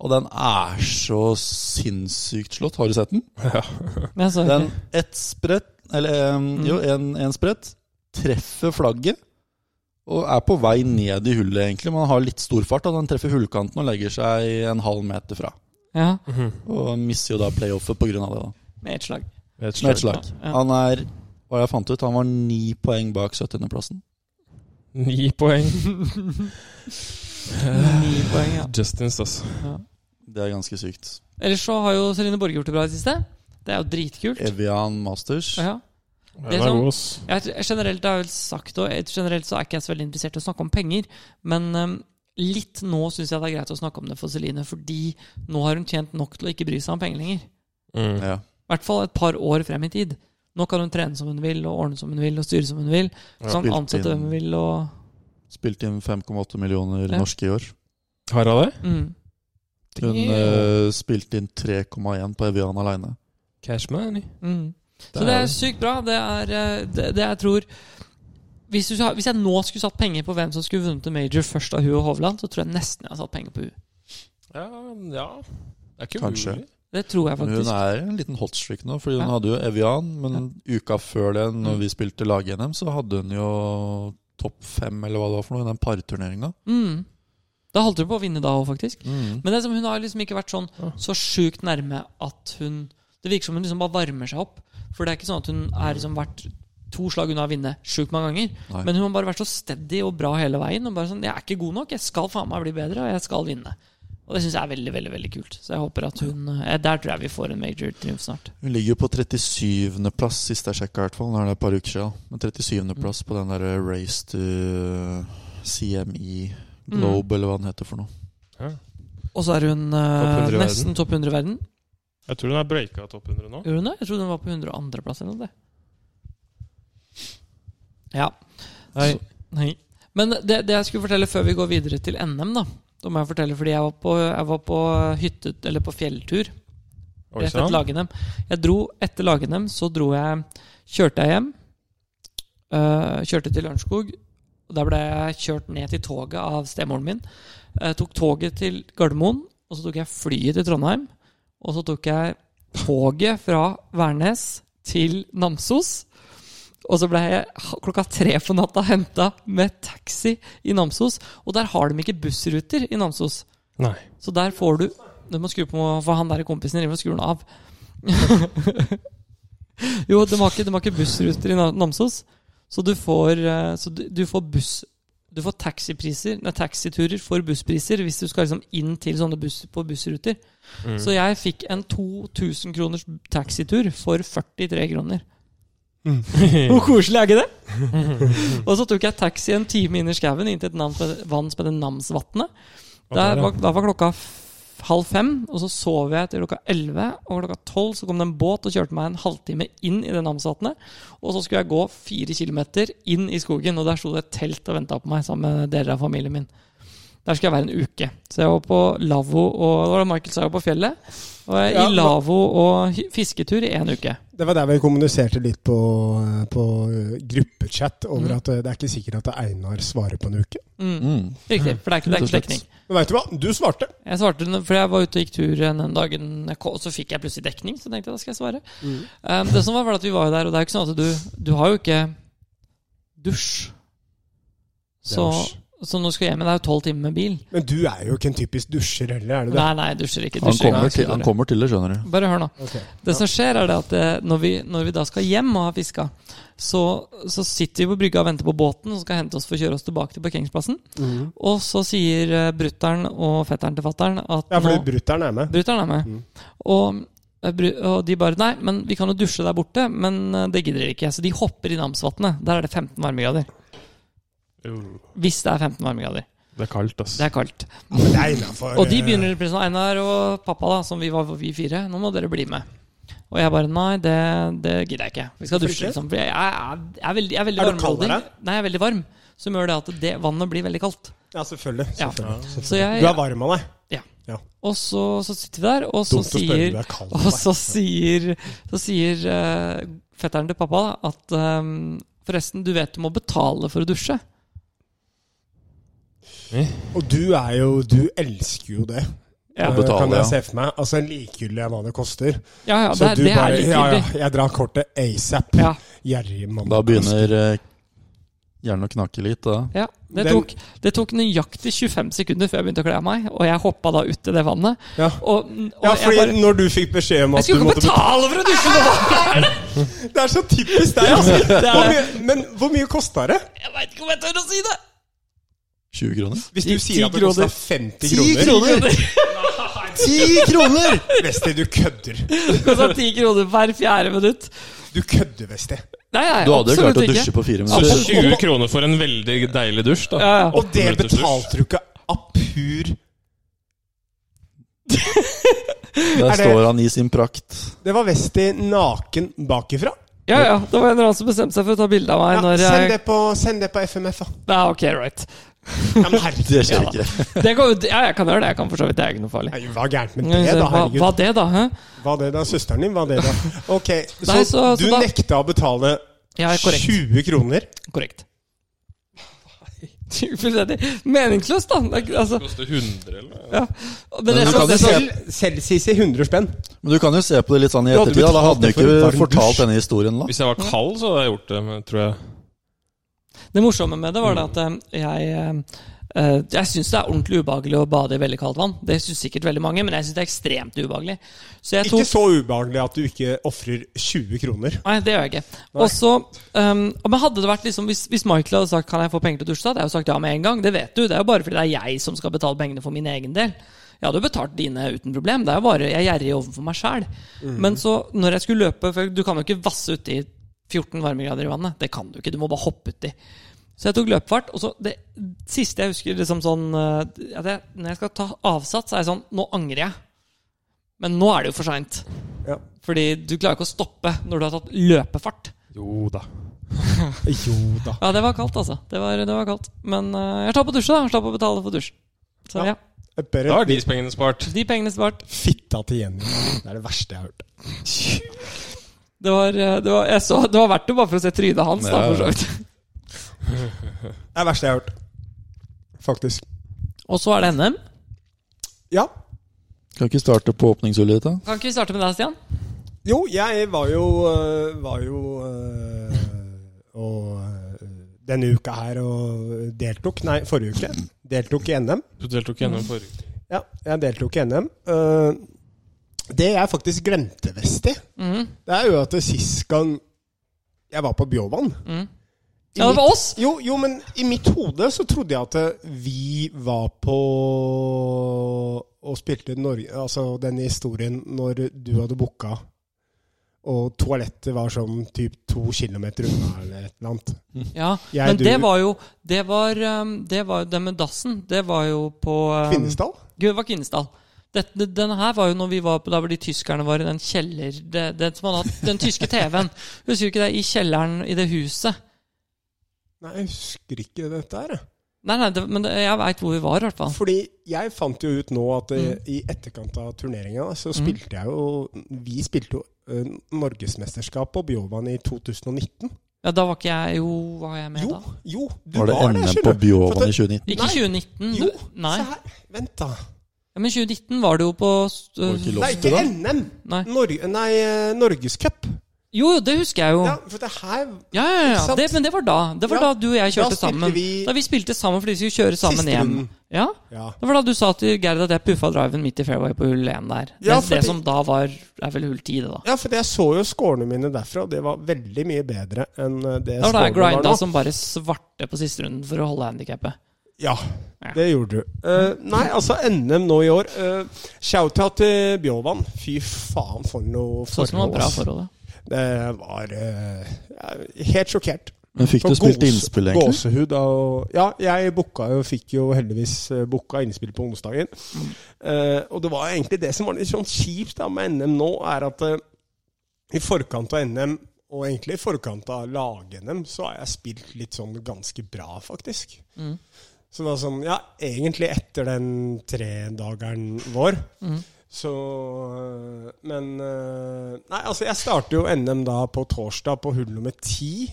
Speaker 3: Og den er så sinnssykt slått. Har du sett den?
Speaker 1: Jeg så ikke.
Speaker 3: Den ett sprett Eller eh,
Speaker 1: Mhm.
Speaker 3: jo, en, en sprett treffer flagget. Og er på vei ned i hullet, egentlig. Man har litt stor fart. Og den treffer hullkanten og legger seg en halv meter fra.
Speaker 1: Ja,
Speaker 3: Og misser jo da playoffet pga. det. da
Speaker 1: med ett slag.
Speaker 4: Med et
Speaker 3: Med
Speaker 4: slag.
Speaker 3: et slag.
Speaker 1: Ja.
Speaker 3: Han er hva jeg fant ut, han var ni poeng bak 70.-plassen.
Speaker 4: Ni poeng.
Speaker 1: Ni poeng, ja.
Speaker 4: Justins, altså.
Speaker 3: Det er ganske sykt.
Speaker 1: Ellers så har jo Serine Borge gjort det bra i det siste. Det er jo dritkult.
Speaker 3: Evian Masters.
Speaker 1: Ja.
Speaker 4: Den
Speaker 1: Det er
Speaker 4: er
Speaker 1: sånn-
Speaker 4: god, ass.
Speaker 1: Jeg, jeg generelt har jeg vel sagt, og jeg- generelt så er ikke jeg så veldig interessert i å snakke om penger, men ehm, litt nå syns jeg det er greit å snakke om det for Celine, fordi nå har hun tjent nok til å ikke bry seg om penger lenger.
Speaker 4: Mm.
Speaker 3: Ja.
Speaker 1: I hvert fall et par år frem i tid. Nå kan hun trene som hun vil, og ordne som hun vil, og styre som hun vil.
Speaker 4: Ja,
Speaker 1: Sånn
Speaker 3: spilt
Speaker 1: ansette
Speaker 3: inn.
Speaker 1: hvem hun vil, og
Speaker 3: Spilte inn 5,8 millioner
Speaker 1: Ja.
Speaker 3: norske i år.
Speaker 4: Har han det?
Speaker 1: mm.
Speaker 3: Hun eh, spilte inn 3,1 på Evian aleine.
Speaker 4: Cash money.
Speaker 1: Mm.
Speaker 4: Der
Speaker 1: Så det
Speaker 4: er
Speaker 1: er
Speaker 4: det.
Speaker 1: sykt bra. Det er eh, det, det jeg tror hvis, du, sa- hvis jeg nå skulle satt penger på hvem som skulle vunnet en major først av hun og Hovland, så tror jeg nesten jeg har satt penger på hun.
Speaker 4: Ja, ja. Det er ikke
Speaker 3: Kanskje.
Speaker 4: umulig.
Speaker 1: Det tror jeg
Speaker 3: Men
Speaker 1: faktisk.
Speaker 3: Hun er en liten hotstreak nå, fordi hun
Speaker 1: Ja.
Speaker 3: hadde jo Evian, men uka før det, når vi spilte lag-NM, så hadde hun jo topp fem, eller hva det var for noe, i den parturneringa.
Speaker 1: Mm. Da holdt hun på å vinne da òg, faktisk.
Speaker 3: Mm.
Speaker 1: Men det er som hun har liksom ikke vært sånn så sjukt nærme at hun Det virker som hun liksom bare varmer seg opp. For det er ikke sånn at hun er liksom vært to slag unna å vinne sjukt mange ganger.
Speaker 3: Nei.
Speaker 1: Men hun har bare vært så steady og bra hele veien. Og bare sånn, Jeg er ikke god nok. Jeg skal faen meg bli bedre, og jeg skal vinne. Og det syns jeg er veldig veldig, veldig kult. Så jeg håper at hun eh, Der tror jeg vi får en major triumf snart.
Speaker 3: Hun ligger jo på 37.-plass, sist jeg sjekka, i hvert fall. Nå er det et par uker siden. Men 37.-plass på den eh, derre eh, E Mm. Race to CME Globe, eller hva den heter for noe.
Speaker 4: Ja.
Speaker 1: Og så er hun
Speaker 4: Topp
Speaker 1: eh,
Speaker 4: 100 i
Speaker 1: nesten topp 100 i verden.
Speaker 4: Jeg tror den har breaka topp 100 nå.
Speaker 1: Gjorde hun det? Jeg trodde hun var på 102.-plass eller noe. det. Ja.
Speaker 4: Nei.
Speaker 1: Så- Nei. Men det, det jeg skulle fortelle før vi går videre til NM, da Da må jeg fortelle, fordi jeg var på, jeg var på hytte, eller på fjelltur
Speaker 4: Oi sånn.
Speaker 1: rett etter
Speaker 4: sann.
Speaker 1: lag-NM. Jeg dro etter lag-NM, så dro jeg Kjørte jeg hjem. øh, kjørte til Lørenskog. Og Der ble jeg kjørt ned til toget av stemoren min. Jeg tok toget til Gardermoen, og så tok jeg flyet til Trondheim. Og så tok jeg toget fra Værnes til Namsos. Og så ble jeg ha- klokka tre på natta henta med taxi i Namsos. Og der har de ikke bussruter i Namsos.
Speaker 4: Nei.
Speaker 1: Så der får du Du må skru på For han der kompisen driver og skrur den av. jo, de har ikke, de har ikke bussruter i Na- Namsos. Så du får, eh, så du, du får buss Du får taxipriser Nei, taxiturer for busspriser hvis du skal liksom inn til sånne buss på bussruter.
Speaker 4: Mm.
Speaker 1: Så jeg fikk en 2000 kroners taxitur for 43 kroner. Hvor koselig er ikke det? og så tok jeg taxi en time inn i skauen inn til et navn som heter- vann som heter Namsvatnet. Der var, da var klokka f- halv fem, og så sov jeg til klokka elleve. Og klokka tolv så kom det en båt og kjørte meg en halvtime inn i det Namsvatnet. Og så skulle jeg gå fire kilometer inn i skogen, og der sto det et telt og venta på meg sammen med deler av familien min. Der skulle jeg være en uke. Så jeg var på lavvo, og det var det Michael sa jeg var på fjellet. Og jeg,
Speaker 2: Ja,
Speaker 1: I
Speaker 2: hva-
Speaker 1: lavvo og hy- fisketur i én uke.
Speaker 2: Det var der vi kommuniserte litt på, eh, på eh, gruppechat over
Speaker 1: Mm.
Speaker 2: at eh, det er ikke sikkert at Einar svarer på en uke.
Speaker 1: Mm.
Speaker 3: Mm.
Speaker 1: Riktig, for det er ikke, det er
Speaker 3: Rett
Speaker 1: ikke
Speaker 3: og slett.
Speaker 1: dekning.
Speaker 2: Men veit du hva? Du svarte!
Speaker 1: Jeg svarte den- fordi jeg var ute og gikk tur den dagen, jeg kom, og så fikk jeg plutselig dekning. Så tenkte jeg da skal jeg svare. Um, det som var, var at vi var jo der, og det er jo ikke sånn at du Du har jo ikke dusj. Så, så nå skal jeg hjem, men det er jo tolv timer med bil.
Speaker 2: Men du er jo ikke en typisk dusjer heller, er du det?
Speaker 1: Nei, nei, dusjer ikke.
Speaker 3: Han,
Speaker 1: Dusjer ikke.
Speaker 3: kommer til, han kommer til det, skjønner du.
Speaker 1: Bare hør nå.
Speaker 2: Ok.
Speaker 1: Det som skjer er det at eh, når vi, når vi da skal hjem og har fiska, så, så sitter vi på brygga og venter på båten som skal hente oss for å kjøre oss tilbake til parkeringsplassen.
Speaker 2: Mhm.
Speaker 1: Og så sier eh, brutter'n og fetteren til fatter'n at
Speaker 2: Ja, fordi
Speaker 1: nå
Speaker 2: brutter'n er med.
Speaker 1: Brutter'n er med.
Speaker 2: Mm.
Speaker 1: Og, eh, bru- og de bare Nei, men vi kan jo dusje der borte. Men eh, det gidder dere ikke. Så de hopper i Namsvatnet. Der er det 15 varmegrader.
Speaker 4: Jo,
Speaker 1: Hvis det er 15 varmegrader.
Speaker 4: Det er kaldt, ass.
Speaker 1: Det er kaldt.
Speaker 2: Men det er innafor.
Speaker 1: Og de begynner å presse Einar og pappa, da, som vi var vi fire. Nå må dere bli med. Og jeg bare Nei, det, det gidder jeg ikke. Vi skal
Speaker 2: Hvorfor
Speaker 1: dusje,
Speaker 2: ikke?
Speaker 1: liksom. For jeg, jeg, er- jeg er veldig, jeg er veldig
Speaker 2: Er du kald,
Speaker 1: varmholdig.
Speaker 2: eller?
Speaker 1: Nei, jeg er veldig varm. Som gjør det at det, vannet blir veldig kaldt.
Speaker 2: eh, Ja, selvfølgelig.
Speaker 1: Ja.
Speaker 2: selvfølgelig.
Speaker 1: Så jeg,
Speaker 2: Du er varm av deg.
Speaker 1: Og så, så sitter vi der, og så
Speaker 2: Dumt å spørre
Speaker 1: sier
Speaker 2: om du er kald av
Speaker 1: Og
Speaker 2: deg.
Speaker 1: så sier, så sier eh, fetteren til pappa da, at ehm, Forresten, du vet du må betale for å dusje.
Speaker 2: Og du er jo Du elsker jo det.
Speaker 1: Ja,
Speaker 2: Eh,
Speaker 3: Å betale,
Speaker 2: kan jeg
Speaker 3: ja.
Speaker 2: se for meg. Altså likegyldig er hva det koster.
Speaker 1: ja, ja
Speaker 2: så
Speaker 1: det, er-
Speaker 2: du
Speaker 1: det er
Speaker 2: bare
Speaker 1: litt
Speaker 2: Ja, ja,
Speaker 1: tydelig.
Speaker 2: jeg drar kortet asap.
Speaker 1: Ja,
Speaker 2: Gjerrig mann.
Speaker 3: Da begynner eh, hjernen å knake litt. Da.
Speaker 1: ja. Det,
Speaker 2: Den-
Speaker 1: tok, det tok nøyaktig 25 sekunder før jeg begynte å kle av meg, og jeg hoppa da uti det vannet.
Speaker 2: Ja.
Speaker 1: Og, og
Speaker 2: Ja,
Speaker 1: jeg
Speaker 2: fordi
Speaker 1: bare
Speaker 2: når du fikk beskjed
Speaker 1: Jeg
Speaker 2: om at du
Speaker 1: skulle ikke
Speaker 2: måtte
Speaker 1: betale for å dusje nå!
Speaker 2: Det er så typisk deg, altså! Hvor mye, men hvor mye kosta det?
Speaker 1: Jeg veit ikke om jeg tør å si det!
Speaker 3: 20 kroner.
Speaker 2: Hvis du
Speaker 1: Ti-
Speaker 2: sier at
Speaker 1: ti
Speaker 2: det kosta
Speaker 1: kroner.
Speaker 2: 50 kroner,
Speaker 1: kroner!
Speaker 3: Ti kroner!
Speaker 2: Vesti, du kødder.
Speaker 1: Kosta ti kroner hver fjerde minutt.
Speaker 2: Du kødder, Vesti.
Speaker 1: Nei, nei,
Speaker 3: Du hadde jo
Speaker 1: absolutt
Speaker 3: klart å
Speaker 1: ikke.
Speaker 3: dusje på fire
Speaker 4: Så
Speaker 3: minutter.
Speaker 4: 20 kroner for en veldig deilig dusj, da.
Speaker 1: Ja, ja.
Speaker 2: Og
Speaker 4: Åtte
Speaker 2: det
Speaker 4: minutters dusj.
Speaker 2: betalte du ikke av pur
Speaker 3: Der
Speaker 2: det-
Speaker 3: står han i sin prakt.
Speaker 2: Det var Vesti naken bakifra.
Speaker 1: Ja, ja. Det var en eller annen som bestemte seg for å ta bilde av meg
Speaker 2: Ja,
Speaker 1: når
Speaker 2: send,
Speaker 1: jeg
Speaker 2: det på, send det på FMF, da.
Speaker 1: Nei, ok, right.
Speaker 2: Ja, men herregud,
Speaker 3: Det skjer ikke.
Speaker 1: Det kan, jo- ja, jeg kan gjøre det. Jeg kan for så vidt. Det er ikke noe farlig.
Speaker 2: nei, hva er gærent med det, da?
Speaker 1: Hva,
Speaker 2: Herregud.
Speaker 1: hva det, da? Hæ?
Speaker 2: Hva det da? Søsteren din, hva det da? Ok, så,
Speaker 1: Nei, så- så
Speaker 2: du
Speaker 1: da-
Speaker 2: nekta å betale
Speaker 1: Ja, korrekt.
Speaker 2: 20 kroner?
Speaker 1: korrekt. Fullstendig meningsløst, da. Det er ikke- Altså,
Speaker 4: Koster 100, eller?
Speaker 1: ja. Men
Speaker 3: Men
Speaker 1: det
Speaker 3: du
Speaker 1: som
Speaker 3: kan jo
Speaker 1: det som-
Speaker 3: se-
Speaker 2: Selv Sisi 100 spenn.
Speaker 3: Men du kan jo se på det litt sånn i
Speaker 2: Du hadde
Speaker 3: ettertid. Da, da
Speaker 2: betalt
Speaker 3: hadde han
Speaker 2: det for en
Speaker 3: ikke
Speaker 2: varm
Speaker 3: fortalt
Speaker 2: dusj.
Speaker 3: denne historien. da
Speaker 4: Hvis jeg var kald, så hadde jeg gjort det, men tror jeg.
Speaker 1: det morsomme med det var det at eh, jeg eh, eh, jeg syns det er ordentlig ubehagelig å bade i veldig kaldt vann. Det syns sikkert veldig mange, men jeg syns det er ekstremt ubehagelig. Så jeg tok
Speaker 2: Ikke så ubehagelig at du ikke ofrer 20 kroner.
Speaker 1: Nei, det gjør jeg ikke. Og så um, og Men hadde det vært liksom hvis, hvis Michael hadde sagt Kan jeg få penger til å dusje, da? Det hadde jeg jo sagt ja med en gang. Det vet du. Det er jo bare fordi det er jeg som skal betale pengene for min egen del. Jeg hadde jo betalt dine uten problem. Det er jo bare Jeg er gjerrig overfor meg sjæl. Men så, når jeg skulle løpe For du kan jo ikke vasse uti 14 varmegrader i vannet. Det kan du ikke. Du må bare hoppe uti. Så jeg tok løpefart. Og så det siste jeg husker liksom sånn eh, at jeg, Når jeg skal ta avsats, så er jeg sånn Nå angrer jeg. Men nå er det jo for seint.
Speaker 2: Ja.
Speaker 1: Fordi du klarer ikke å stoppe når du har tatt løpefart.
Speaker 4: Jo da.
Speaker 2: Jo da.
Speaker 1: Ja, det var kaldt, altså. Det var, det var kaldt. Men eh, jeg slapp å dusje, da. Jeg slapp å betale for dusj. Så ja.
Speaker 2: Bare
Speaker 4: Da er de pengene spart.
Speaker 1: De pengene spart.
Speaker 2: fitta til Jenny. Det er det verste jeg har hørt.
Speaker 1: Det var, eh, det var, jeg så, det var verdt det bare for å se trynet hans, da,
Speaker 3: Ja,
Speaker 1: for så
Speaker 3: ja.
Speaker 1: vidt.
Speaker 2: Det er det verste jeg har hørt. Faktisk.
Speaker 1: Og så er det NM.
Speaker 2: Ja.
Speaker 3: Kan ikke starte på åpningshullet ditt, da?
Speaker 1: Kan ikke vi starte med deg, Stian?
Speaker 2: Jo, jeg var jo øh, Var jo øh, Og øh, denne uka her og deltok Nei, forrige uke. Deltok i NM.
Speaker 4: Du deltok i NM forrige uke.
Speaker 2: Ja, jeg deltok i NM. Eh, det jeg faktisk glemte, Vesti,
Speaker 1: Mhm.
Speaker 2: det er jo at det sist gang jeg var på Bjåvann
Speaker 1: Mhm.
Speaker 2: I
Speaker 1: Ja, det
Speaker 2: mitt-
Speaker 1: var oss!
Speaker 2: jo, jo, men i mitt hode så trodde jeg at eh, vi var på og spilte Norge Altså den historien når du hadde booka, og toalettet var sånn typ to kilometer unna eller et eller annet.
Speaker 1: Ja,
Speaker 2: Jeg,
Speaker 1: Men
Speaker 2: du-
Speaker 1: det var jo Det var um, Det var jo det med dassen. Det var jo på um,
Speaker 2: Kvinesdal?
Speaker 1: Gud, det var Kvinesdal. Dette, denne her var jo når vi var på der hvor de tyskerne var i den kjeller... Det, det som hadde hatt den tyske TV-en. Husker du ikke det? I kjelleren i det huset.
Speaker 2: Nei, jeg husker ikke dette her. jeg.
Speaker 1: Nei, nei, det, men det, jeg veit hvor vi var, i hvert fall.
Speaker 2: Fordi jeg fant jo ut nå at eh,
Speaker 1: Mm.
Speaker 2: i etterkant av turneringa så
Speaker 1: Mm.
Speaker 2: spilte jeg jo Vi spilte jo eh, norgesmesterskap på Bjåvann i 2019.
Speaker 1: Ja, Da var ikke jeg Jo, var jeg med
Speaker 2: Jo,
Speaker 1: da?
Speaker 2: jo, du
Speaker 3: Var det NM på
Speaker 2: skjønner du. For
Speaker 3: Bjåvann
Speaker 2: at-
Speaker 3: i 2019?
Speaker 1: Ikke
Speaker 2: Nei.
Speaker 1: 2019.
Speaker 2: Jo,
Speaker 1: Nei.
Speaker 2: Se her. Vent, da.
Speaker 1: Ja, men 2019 var det jo på st-
Speaker 3: Var det ikke lov?
Speaker 2: Nei, ikke
Speaker 3: da?
Speaker 2: NM.
Speaker 1: Nei.
Speaker 2: Norge- nei, eh, Norgescup.
Speaker 1: Jo, jo, det husker jeg jo.
Speaker 2: Ja, for det her
Speaker 1: Ja, ja,
Speaker 2: Ikke
Speaker 1: ja.
Speaker 2: sant?
Speaker 1: Det, men det var da. Det var
Speaker 2: Ja.
Speaker 1: da du og jeg
Speaker 2: Da
Speaker 1: kjørte
Speaker 2: spilte
Speaker 1: sammen.
Speaker 2: vi-
Speaker 1: Da vi spilte sammen fordi vi skulle kjøre sammen
Speaker 2: Siste
Speaker 1: hjem.
Speaker 2: runden.
Speaker 1: Ja,
Speaker 2: Ja.
Speaker 1: Det var da du sa til Gerd at jeg puffa driven midt i fairway på hull 1 der. Det,
Speaker 2: Ja, fordi-
Speaker 1: det som da var er vel hull 10, det da.
Speaker 2: ja, for jeg så jo scorene mine derfra, og det var veldig mye bedre enn eh, det
Speaker 1: Det var da jeg
Speaker 2: scorene var
Speaker 1: grinda
Speaker 2: nå.
Speaker 1: som bare svarte på siste runden for å holde handikappet.
Speaker 2: Ja,
Speaker 1: Ja.
Speaker 2: det gjorde du. Eh, nei, altså NM nå i år. Uh, Shout-out til Bjåvann. Fy faen, for noe
Speaker 1: Så ut som det var
Speaker 2: forhold.
Speaker 1: bra
Speaker 2: ass.
Speaker 1: forhold. da.
Speaker 2: Det var eh, jeg er helt sjokkert.
Speaker 3: Men fikk
Speaker 2: For
Speaker 3: du spilt
Speaker 2: gåse-
Speaker 3: innspill, egentlig?
Speaker 2: Gåsehud av å- Ja, jeg booka jo, fikk jo heldigvis eh, booka innspill på onsdagen. Eh, og det var egentlig det som var litt sånn kjipt da med NM nå, er at eh, i forkant av NM, og egentlig i forkant av lag-NM, så har jeg spilt litt sånn ganske bra, faktisk.
Speaker 1: Mm.
Speaker 2: Så det var sånn Ja, egentlig etter den tredageren vår.
Speaker 1: Mm.
Speaker 2: Så øh, Men øh, Nei, altså, jeg starter jo NM da på torsdag på hull nummer ti.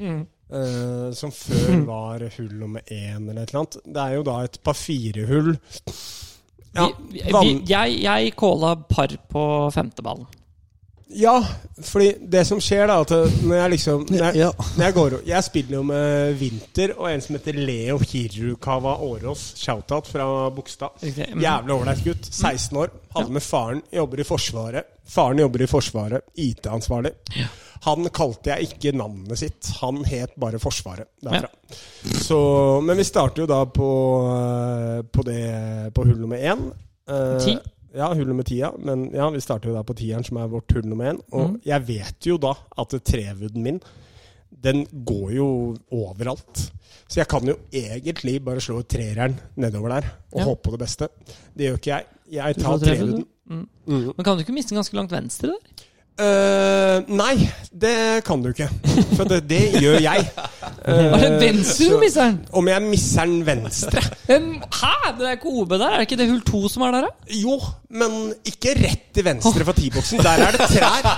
Speaker 1: Mm.
Speaker 2: eh, som før var hull nummer én eller et eller annet. Det er jo da et par fire-hull. Ja,
Speaker 1: vi, vi,
Speaker 2: vann-
Speaker 1: jeg, jeg calla par på femteballen.
Speaker 2: ja, fordi det som skjer, da, at øh, når jeg liksom når jeg,
Speaker 3: Ja.
Speaker 2: Når jeg, går, jeg spiller jo med Winter og en som heter Leo Hirukawa Årås. Shoutout fra Bogstad.
Speaker 1: Riktig. Mm.
Speaker 2: Jævlig ålreit gutt. 16 år. Hadde med faren. Jobber i Forsvaret. Faren jobber i Forsvaret. IT-ansvarlig. Han kalte jeg ikke navnet sitt. Han het bare Forsvaret derfra. Så, men vi starter jo da på, eh, på, det, på hull nummer én. Eh,
Speaker 1: Ti?
Speaker 2: Ja, hull nummer ti, ja. Men ja, vi starter jo da på tieren, som er vårt hull nummer én. Og
Speaker 1: Mm.
Speaker 2: jeg vet jo da at trevooden min, den går jo overalt. Så jeg kan jo egentlig bare slå treeren nedover der og
Speaker 1: Ja.
Speaker 2: håpe på det beste. Det gjør ikke jeg. Jeg
Speaker 1: Du
Speaker 2: tar
Speaker 1: får treffe,
Speaker 2: trevooden.
Speaker 1: du. Mm.
Speaker 2: Mm.
Speaker 1: Men kan du ikke miste den ganske langt venstre der?
Speaker 2: Eh, nei, det kan du ikke. For det, det gjør jeg. Eh,
Speaker 1: Var det venstre
Speaker 2: så-
Speaker 1: du mista den?
Speaker 2: Om jeg misser den venstre?
Speaker 1: Um, hæ? Det er ikke OB der? Er det ikke det hull 2 som er der, da?
Speaker 2: Jo, men ikke rett til venstre for T-boksen. Der er det trær.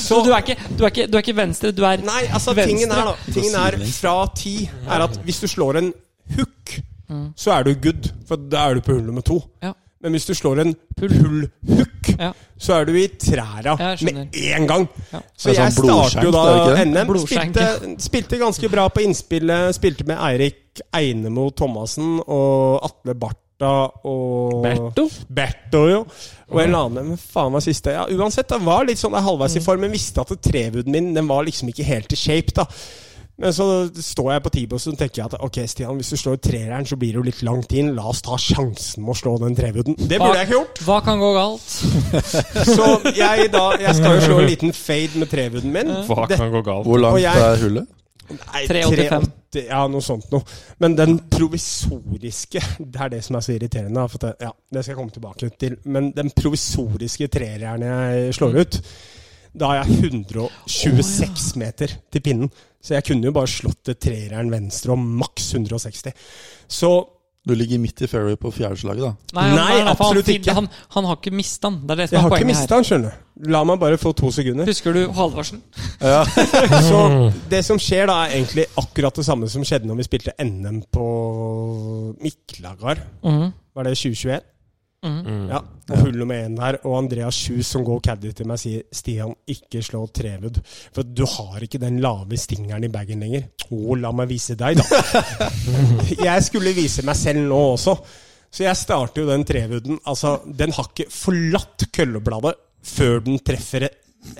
Speaker 1: Så du er ikke, du er ikke, du er ikke venstre, du er
Speaker 2: Nei, altså
Speaker 1: Venstre.
Speaker 2: tingen er da Tingen er fra ti er at hvis du slår en hook,
Speaker 1: Mm.
Speaker 2: så er du good. For da er du på hull nummer to.
Speaker 1: Ja.
Speaker 2: Men hvis du slår en pull-hook,
Speaker 1: Ja.
Speaker 2: så er du i træra
Speaker 1: Jeg skjønner.
Speaker 2: med en gang.
Speaker 1: Ja.
Speaker 2: Så
Speaker 3: Det er
Speaker 2: jeg
Speaker 3: sånn blodskjenk,
Speaker 2: starter jo
Speaker 3: det er
Speaker 2: da
Speaker 3: ikke det?
Speaker 2: NM.
Speaker 1: Blodskjenk,
Speaker 2: Spilte, spilte ganske bra på innspillet. Spilte med Eirik Einemo Thomassen og Atle Bartha og
Speaker 1: Berto?
Speaker 2: Berto, jo. Og en eller annen. men Faen meg siste. Ja, uansett, det var litt sånn jeg halvveis i
Speaker 1: Mm.
Speaker 2: form, men visste at trevooden min den var liksom ikke helt i shape, da. Men så står jeg på T-box og tenker jeg at ok, Stian, hvis du slår treeren, så blir det jo litt langt inn. La oss ta sjansen med å slå den trevooden. Det burde jeg ikke gjort.
Speaker 1: Hva kan gå galt?
Speaker 2: Så jeg, da, jeg skal jo slå en liten fade med trevooden min.
Speaker 4: Hva kan gå galt?
Speaker 3: Hvor
Speaker 2: Og
Speaker 3: langt
Speaker 2: jeg-
Speaker 3: er hullet?
Speaker 2: Nei,
Speaker 1: 3,85.
Speaker 2: 3,80, Ja, noe sånt noe. Men den provisoriske, det er det som er så irriterende. da, For det, ja, det skal jeg komme tilbake til. Men den provisoriske trerjern jeg slår ut, da har jeg 126 meter til pinnen. Så jeg kunne jo bare slått et trerjern venstre om maks 160. Så
Speaker 3: Du ligger midt i fairway på fjerdeslaget, da.
Speaker 1: Nei, han,
Speaker 2: Nei,
Speaker 1: han, han,
Speaker 2: absolutt
Speaker 1: han,
Speaker 2: ikke.
Speaker 1: han, han har ikke mista den. Det er det som
Speaker 2: jeg
Speaker 1: er
Speaker 2: har ikke
Speaker 1: poenget
Speaker 2: mista
Speaker 1: her.
Speaker 2: den, skjønner du. La meg bare få to sekunder.
Speaker 1: Husker du Halvorsen?
Speaker 2: Så det som skjer da, er egentlig akkurat det samme som skjedde når vi spilte NM på Miklagard. Var det 2021? Ja. Og hull nummer én der. Og Andreas Kjus som går caddy til meg, sier 'Stian, ikke slå Trevud'. For du har ikke den lave stingeren i bagen lenger. Å, la meg vise deg, da. jeg skulle vise meg selv nå også. Så jeg starter jo den Trevuden. Altså, den har ikke forlatt køllebladet før den treffer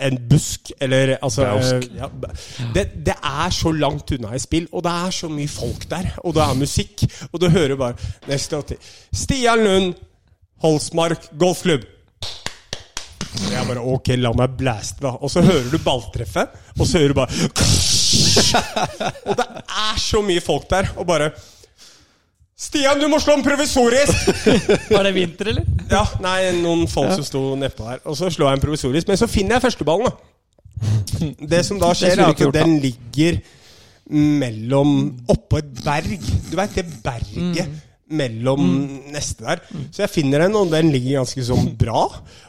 Speaker 2: en busk, eller altså
Speaker 4: Bausk.
Speaker 2: eh, ja, b- det, det er så langt unna i spill, og det er så mye folk der, og det er musikk, og du hører bare neste åtti Stian Lund, Holsmark golfklubb. Så jeg bare ok, la meg blæste, da. Og så hører du balltreffet, og så hører du bare Og det er så mye folk der, og bare Stian, du må slå en provisorisk!
Speaker 1: Var det vinter, eller?
Speaker 2: Ja, nei, noen folk som sto nedpå her. Og så slår jeg en provisorisk, men så finner jeg førsteballen, da. Det som da
Speaker 1: skulle
Speaker 2: skjer, er
Speaker 1: du
Speaker 2: at
Speaker 1: ikke gjort,
Speaker 2: den ligger mellom Oppå et berg. Du veit det berget
Speaker 1: Mm.
Speaker 2: mellom neste der. Så jeg finner den, og den ligger ganske sånn bra.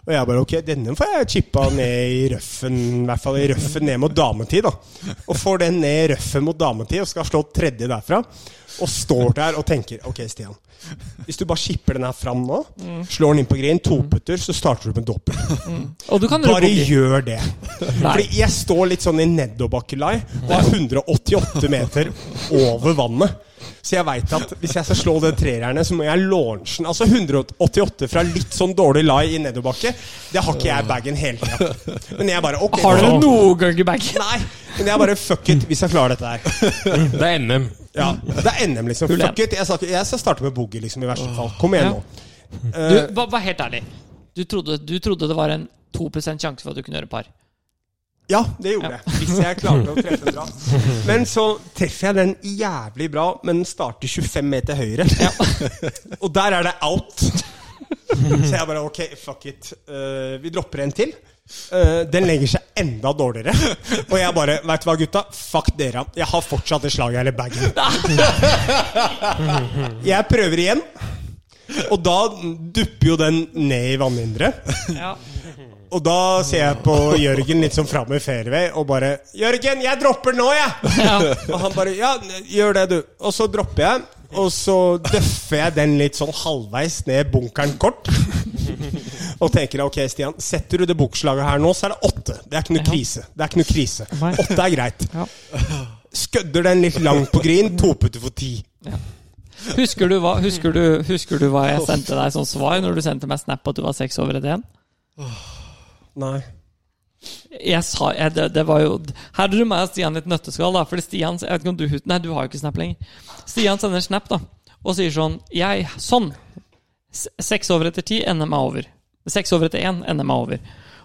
Speaker 2: Og jeg bare ok, denne får jeg chippa ned i røffen, i hvert fall i røffen ned mot dametid, da. Og får den ned i røffen mot dametid, og skal slå tredje derfra. Og står der og tenker ok, Stian. Hvis du bare skipper den her fram nå, slår den inn på green, toputter, så starter du med dobbel.
Speaker 1: Og du kan
Speaker 2: Bare
Speaker 1: rulle boogie.
Speaker 2: gjør det. Fordi jeg står litt sånn i nedoverbakkelai og er 188 meter over vannet. Så jeg veit at hvis jeg skal slå det trejernet, så må jeg launche den. Altså 188 fra litt sånn dårlig lai i nedoverbakke, det har ikke jeg i bagen hele tida. Men jeg bare ok,
Speaker 1: Har dere
Speaker 2: nå-
Speaker 1: noe guggebag?
Speaker 2: Nei! Men jeg bare fuck it, hvis jeg klarer dette her.
Speaker 4: Det er NM.
Speaker 2: Ja, Det er NM, liksom.
Speaker 1: Hull én.
Speaker 2: Fuck it. Jeg, sa, ikke- jeg skal starte med boogie, liksom, i verste fall. Kom igjen
Speaker 1: Ja.
Speaker 2: nå.
Speaker 1: Du, ba- Vær helt ærlig. Du trodde, du trodde det var en 2 sjanse for at du kunne gjøre par.
Speaker 2: Ja, det gjorde jeg. Hvis jeg klarte å treffe bra. Men så treffer jeg den jævlig bra, men den starter 25 meter høyre. Og der er det out. Så jeg bare ok, fuck it. Eh, vi dropper en til. Eh, den legger seg enda dårligere. Og jeg bare, veit du hva, gutta? Fuck dere. Jeg har fortsatt det slaget eller bagen. Jeg prøver igjen. Og da dupper jo den ned i vannhinderet.
Speaker 1: Ja.
Speaker 2: Og da ser jeg på Jørgen litt sånn framme i fairway og bare 'Jørgen, jeg dropper nå, jeg!' Og han bare 'Ja, gjør det, du'. Og så dropper jeg, og så døffer jeg den litt sånn halvveis ned bunkeren kort. Og tenker 'Ok, Stian, setter du det bukslaget her nå, så er det åtte'. Det er ikke noe krise. Det er ikke noe krise.
Speaker 1: Nei.
Speaker 2: Åtte er greit.
Speaker 1: Ja.
Speaker 2: Skødder den litt langt på green, toputter for ti.
Speaker 1: Husker, du hva, husker, du, husker du hva jeg sendte deg som svar når du sendte meg snap at du var seks over et én?
Speaker 2: Nei.
Speaker 1: Jeg sa, jeg, det, det var jo Her hadde du meg og Stian i et nøtteskall. da Fordi Stian, jeg vet ikke om du Nei, du har jo ikke Snap lenger. Stian sender en Snap da og sier sånn Jeg, Sånn! S- Seks over etter ti ender meg over. Seks over etter én ender meg over.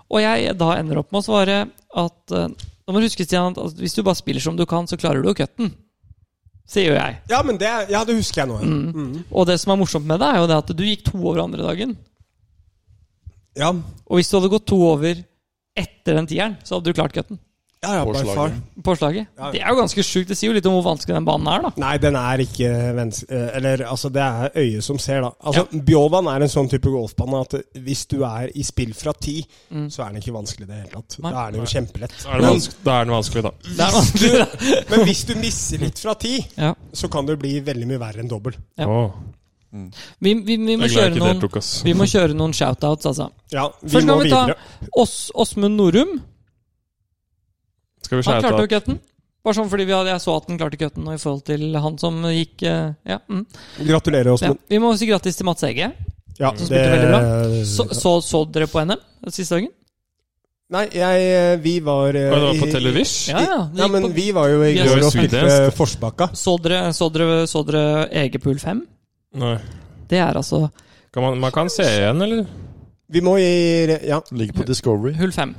Speaker 1: Og jeg da ender opp med å svare at eh, Nå må du huske, Stian, at hvis du bare spiller som du kan, så klarer du jo cutten. Sier jo jeg.
Speaker 2: Ja, men det, ja, det husker jeg nå. Ja.
Speaker 1: Mm. Og det som er morsomt med det, er jo det at du gikk to over andre dagen.
Speaker 2: Ja,
Speaker 1: Og hvis du hadde gått to over etter den tieren, så hadde du klart cutten.
Speaker 2: ja, ja
Speaker 3: På
Speaker 2: by
Speaker 3: slaget.
Speaker 2: far.
Speaker 1: på slaget. Det er jo ganske sjukt. Det sier jo litt om hvor vanskelig den banen er, da.
Speaker 2: Nei, den er ikke vens eh, Eller altså, det er øyet som ser, da. Altså, Bjåvann er en sånn type golfbane at hvis du er i spill fra ti, så er den ikke vanskelig i det hele tatt.
Speaker 1: Mm. Nei.
Speaker 2: Da er den jo kjempelett.
Speaker 4: Da er det vanskelig, da. Er det vanskelig, da.
Speaker 1: Det er vanskelig, da.
Speaker 2: Men hvis du misser litt fra ti,
Speaker 1: Ja.
Speaker 2: så kan det bli veldig mye verre enn dobbel.
Speaker 1: Ja.
Speaker 4: Åh,
Speaker 1: Vi, vi, vi,
Speaker 4: jeg er
Speaker 1: må
Speaker 4: glad jeg
Speaker 1: kjøre
Speaker 4: ikke
Speaker 1: noen,
Speaker 4: deltok, ass.
Speaker 1: vi må kjøre noen shoutouts, altså.
Speaker 2: Ja, vi
Speaker 1: Først
Speaker 2: må
Speaker 1: kan vi ta
Speaker 2: videre.
Speaker 1: Ås- Åsmund Norum.
Speaker 4: Skal vi
Speaker 1: Han
Speaker 4: skjære
Speaker 1: klarte
Speaker 4: av?
Speaker 1: jo cutten. Bare sånn fordi vi hadde, jeg så at han klarte cutten nå i forhold til han som gikk eh, Ja. Mm.
Speaker 2: Gratulerer,
Speaker 1: ja.
Speaker 2: Åsmund.
Speaker 1: Vi må si grattis til Mats Ege.
Speaker 2: Ja,
Speaker 1: som
Speaker 2: det
Speaker 1: spilte veldig bra. Så, så, så dere på NM den siste dagen?
Speaker 2: Nei, jeg eh, Vi var eh,
Speaker 4: Oi, det var
Speaker 2: i-
Speaker 4: på Televish?
Speaker 1: Ja, ja. det
Speaker 2: Ja,
Speaker 1: gikk
Speaker 2: men
Speaker 1: på-
Speaker 2: vi var jo i
Speaker 1: Vi er
Speaker 2: går
Speaker 4: så
Speaker 2: og spilte
Speaker 4: sweet.
Speaker 2: Forsbakka.
Speaker 1: så, dere, så, dere, så dere Egepool 5?
Speaker 4: Nei.
Speaker 1: Det er altså
Speaker 4: Kan man, man kan se igjen, eller?
Speaker 2: Vi må i Ja.
Speaker 3: Ligger på Discovery.
Speaker 1: hull 5.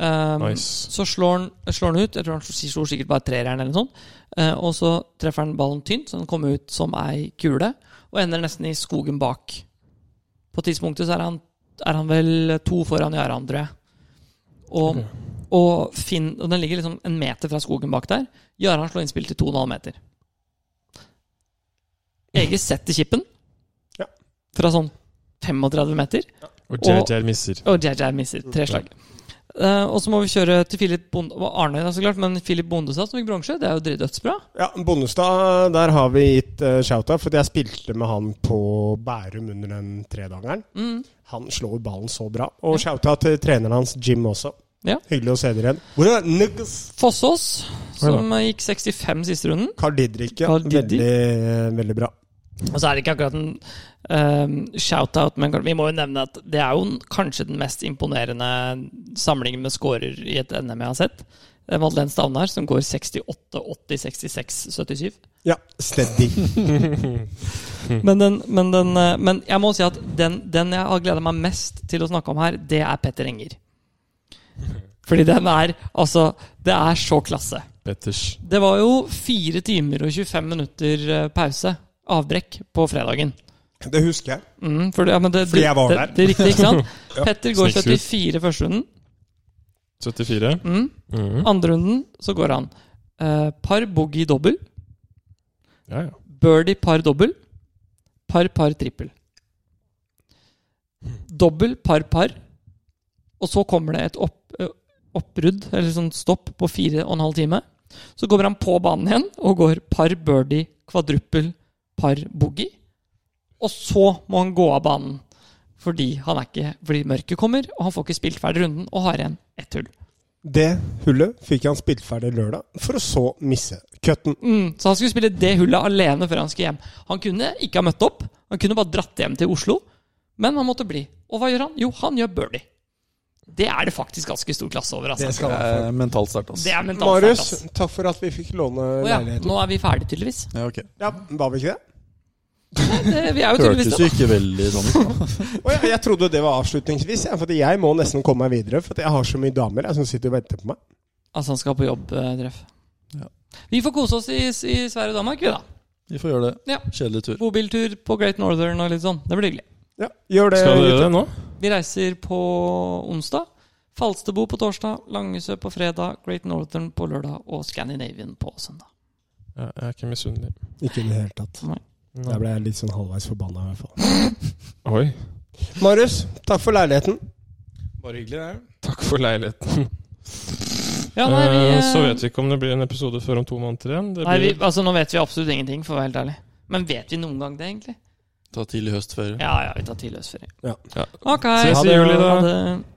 Speaker 1: Um,
Speaker 4: Nice.
Speaker 1: Så slår han, slår han ut. Jeg tror han slår slår sikkert bare trereren eller noe sånt. Eh, og så treffer han ballen tynt, så den kommer ut som ei kule. Og ender nesten i skogen bak. På tidspunktet så er han, er han vel to foran Jaran, tror jeg. Og, og, Finn, og den ligger liksom en meter fra skogen bak der. Jaran slår innspill til 2,5 meter. Ege setter kippen
Speaker 2: Ja.
Speaker 1: fra sånn 35 meter.
Speaker 4: Og
Speaker 1: Og-
Speaker 4: JJ misser.
Speaker 1: Og JJ misser tre slag. Eh, og så må vi kjøre til Philip Bonde og Arne, da, så klart, men Philip Bondestad som fikk bronse. Det er jo dritdødsbra.
Speaker 2: Ja, Bondestad, der har vi gitt eh, shout-out, for jeg spilte med han på Bærum under den tredageren.
Speaker 1: Mm.
Speaker 2: Han slår ballen så bra. Og shout-out til treneren hans, Jim, også.
Speaker 1: Ja.
Speaker 2: Hyggelig å se dere igjen. Hvor er Nuggets?
Speaker 1: Fossås, som eh, gikk 65 siste runden.
Speaker 2: Carl Didrik, ja.
Speaker 1: Carl Didrik.
Speaker 2: Veldig, eh, veldig bra.
Speaker 1: Og så er det ikke akkurat en eh, shout-out, men vi må jo nevne at det er jo den- kanskje den mest imponerende samlingen med scorer i et NM jeg har sett. Det er Madeleine Stavnar, som går 68, 80, 66, 77.
Speaker 2: Ja, steady.
Speaker 1: Men, den, men, den, eh, men jeg må si at den, den jeg har gleda meg mest til å snakke om her, det er Petter Enger. Fordi den er Altså, det er så klasse.
Speaker 4: Petters.
Speaker 1: Det var jo 4 timer og 25 minutter eh, pause, avbrekk, på fredagen.
Speaker 2: Det husker jeg.
Speaker 1: Mm, for det, ja, men det,
Speaker 2: Fordi jeg var
Speaker 1: det,
Speaker 2: der.
Speaker 1: Det, er riktig, ikke sant? Petter går
Speaker 4: Snikskryt.
Speaker 1: 74 første runden.
Speaker 4: 74.
Speaker 1: Mm.
Speaker 4: Mhm.
Speaker 1: Andre runden så går han eh, par boogie dobbel,
Speaker 4: Ja, ja.
Speaker 1: birdie par dobbel, par par trippel. Dobbel par par, og så kommer det et opp, eh, oppbrudd, eller sånn stopp, på fire og en halv time. Så kommer han på banen igjen og går par birdie, kvadruppel, par boogie. Og så må han gå av banen fordi, han er ikke, fordi mørket kommer, og han får ikke spilt ferdig runden og har igjen ett hull.
Speaker 2: Det hullet fikk han spilt ferdig lørdag, for å så misse cutten.
Speaker 1: Mm, så han skulle spille det hullet alene før han skulle hjem. Han kunne ikke ha møtt opp. Han kunne bare dratt hjem til Oslo. Men han måtte bli. Og hva gjør han? Jo, han gjør birdie. Det er det faktisk ganske stor klasse over. Altså.
Speaker 2: Det skal
Speaker 3: Det
Speaker 2: han
Speaker 3: er mentalt sterkt,
Speaker 1: Det
Speaker 3: altså.
Speaker 1: er mentalt
Speaker 2: Marius,
Speaker 1: sterkt. ass.
Speaker 2: takk for at vi fikk låne
Speaker 1: Å ja,
Speaker 2: leiligheten.
Speaker 1: nå er vi ferdige, tydeligvis.
Speaker 3: Ja, ok.
Speaker 2: Ja, Var vi ikke det?
Speaker 1: Det, vi er jo tydeligvis
Speaker 3: Hørtes jo ikke veldig sånn ut. da.
Speaker 2: Å ja, jeg trodde det var avslutningsvis, ja, for jeg må nesten komme meg videre. For jeg har så mye damer jeg, som sitter og venter på meg.
Speaker 1: Altså, han skal på jobb, eh, treff.
Speaker 3: Ja.
Speaker 1: Vi får kose oss i, i Sverige og Danmark, vi, da.
Speaker 3: Vi får gjøre
Speaker 1: Ja.
Speaker 3: det. Kjedelig tur.
Speaker 1: Bobiltur på Great Northern og litt sånn. Det blir hyggelig.
Speaker 2: Ja, gjør det.
Speaker 4: Skal dere
Speaker 2: gutter.
Speaker 4: det nå?
Speaker 1: Vi reiser på onsdag. Falstebo på torsdag, Langesø på fredag, Great Northern på lørdag og Scandinavian på søndag.
Speaker 4: Ja, jeg er ikke misunnelig.
Speaker 2: Ikke i det hele tatt.
Speaker 1: Nei.
Speaker 2: Der ble jeg litt sånn halvveis forbanna, i hvert fall.
Speaker 4: Oi.
Speaker 2: Marius, takk for leiligheten.
Speaker 6: Bare hyggelig, det.
Speaker 4: Takk for leiligheten.
Speaker 1: Ja, nei, vi,
Speaker 4: Eh, Så vet vi ikke om det blir en episode før om to måneder igjen. Det blir...
Speaker 1: Nei, vi, altså Nå vet vi absolutt ingenting, for å være helt ærlig. Men vet vi noen gang det, egentlig?
Speaker 3: Ta tidlig høstferie.
Speaker 1: Ja, ja, vi tar tidløs ferie.
Speaker 2: Ja.
Speaker 4: Ja.
Speaker 1: Ok.
Speaker 4: Ses i
Speaker 1: Ha det.
Speaker 4: juli, da.
Speaker 1: Ha det.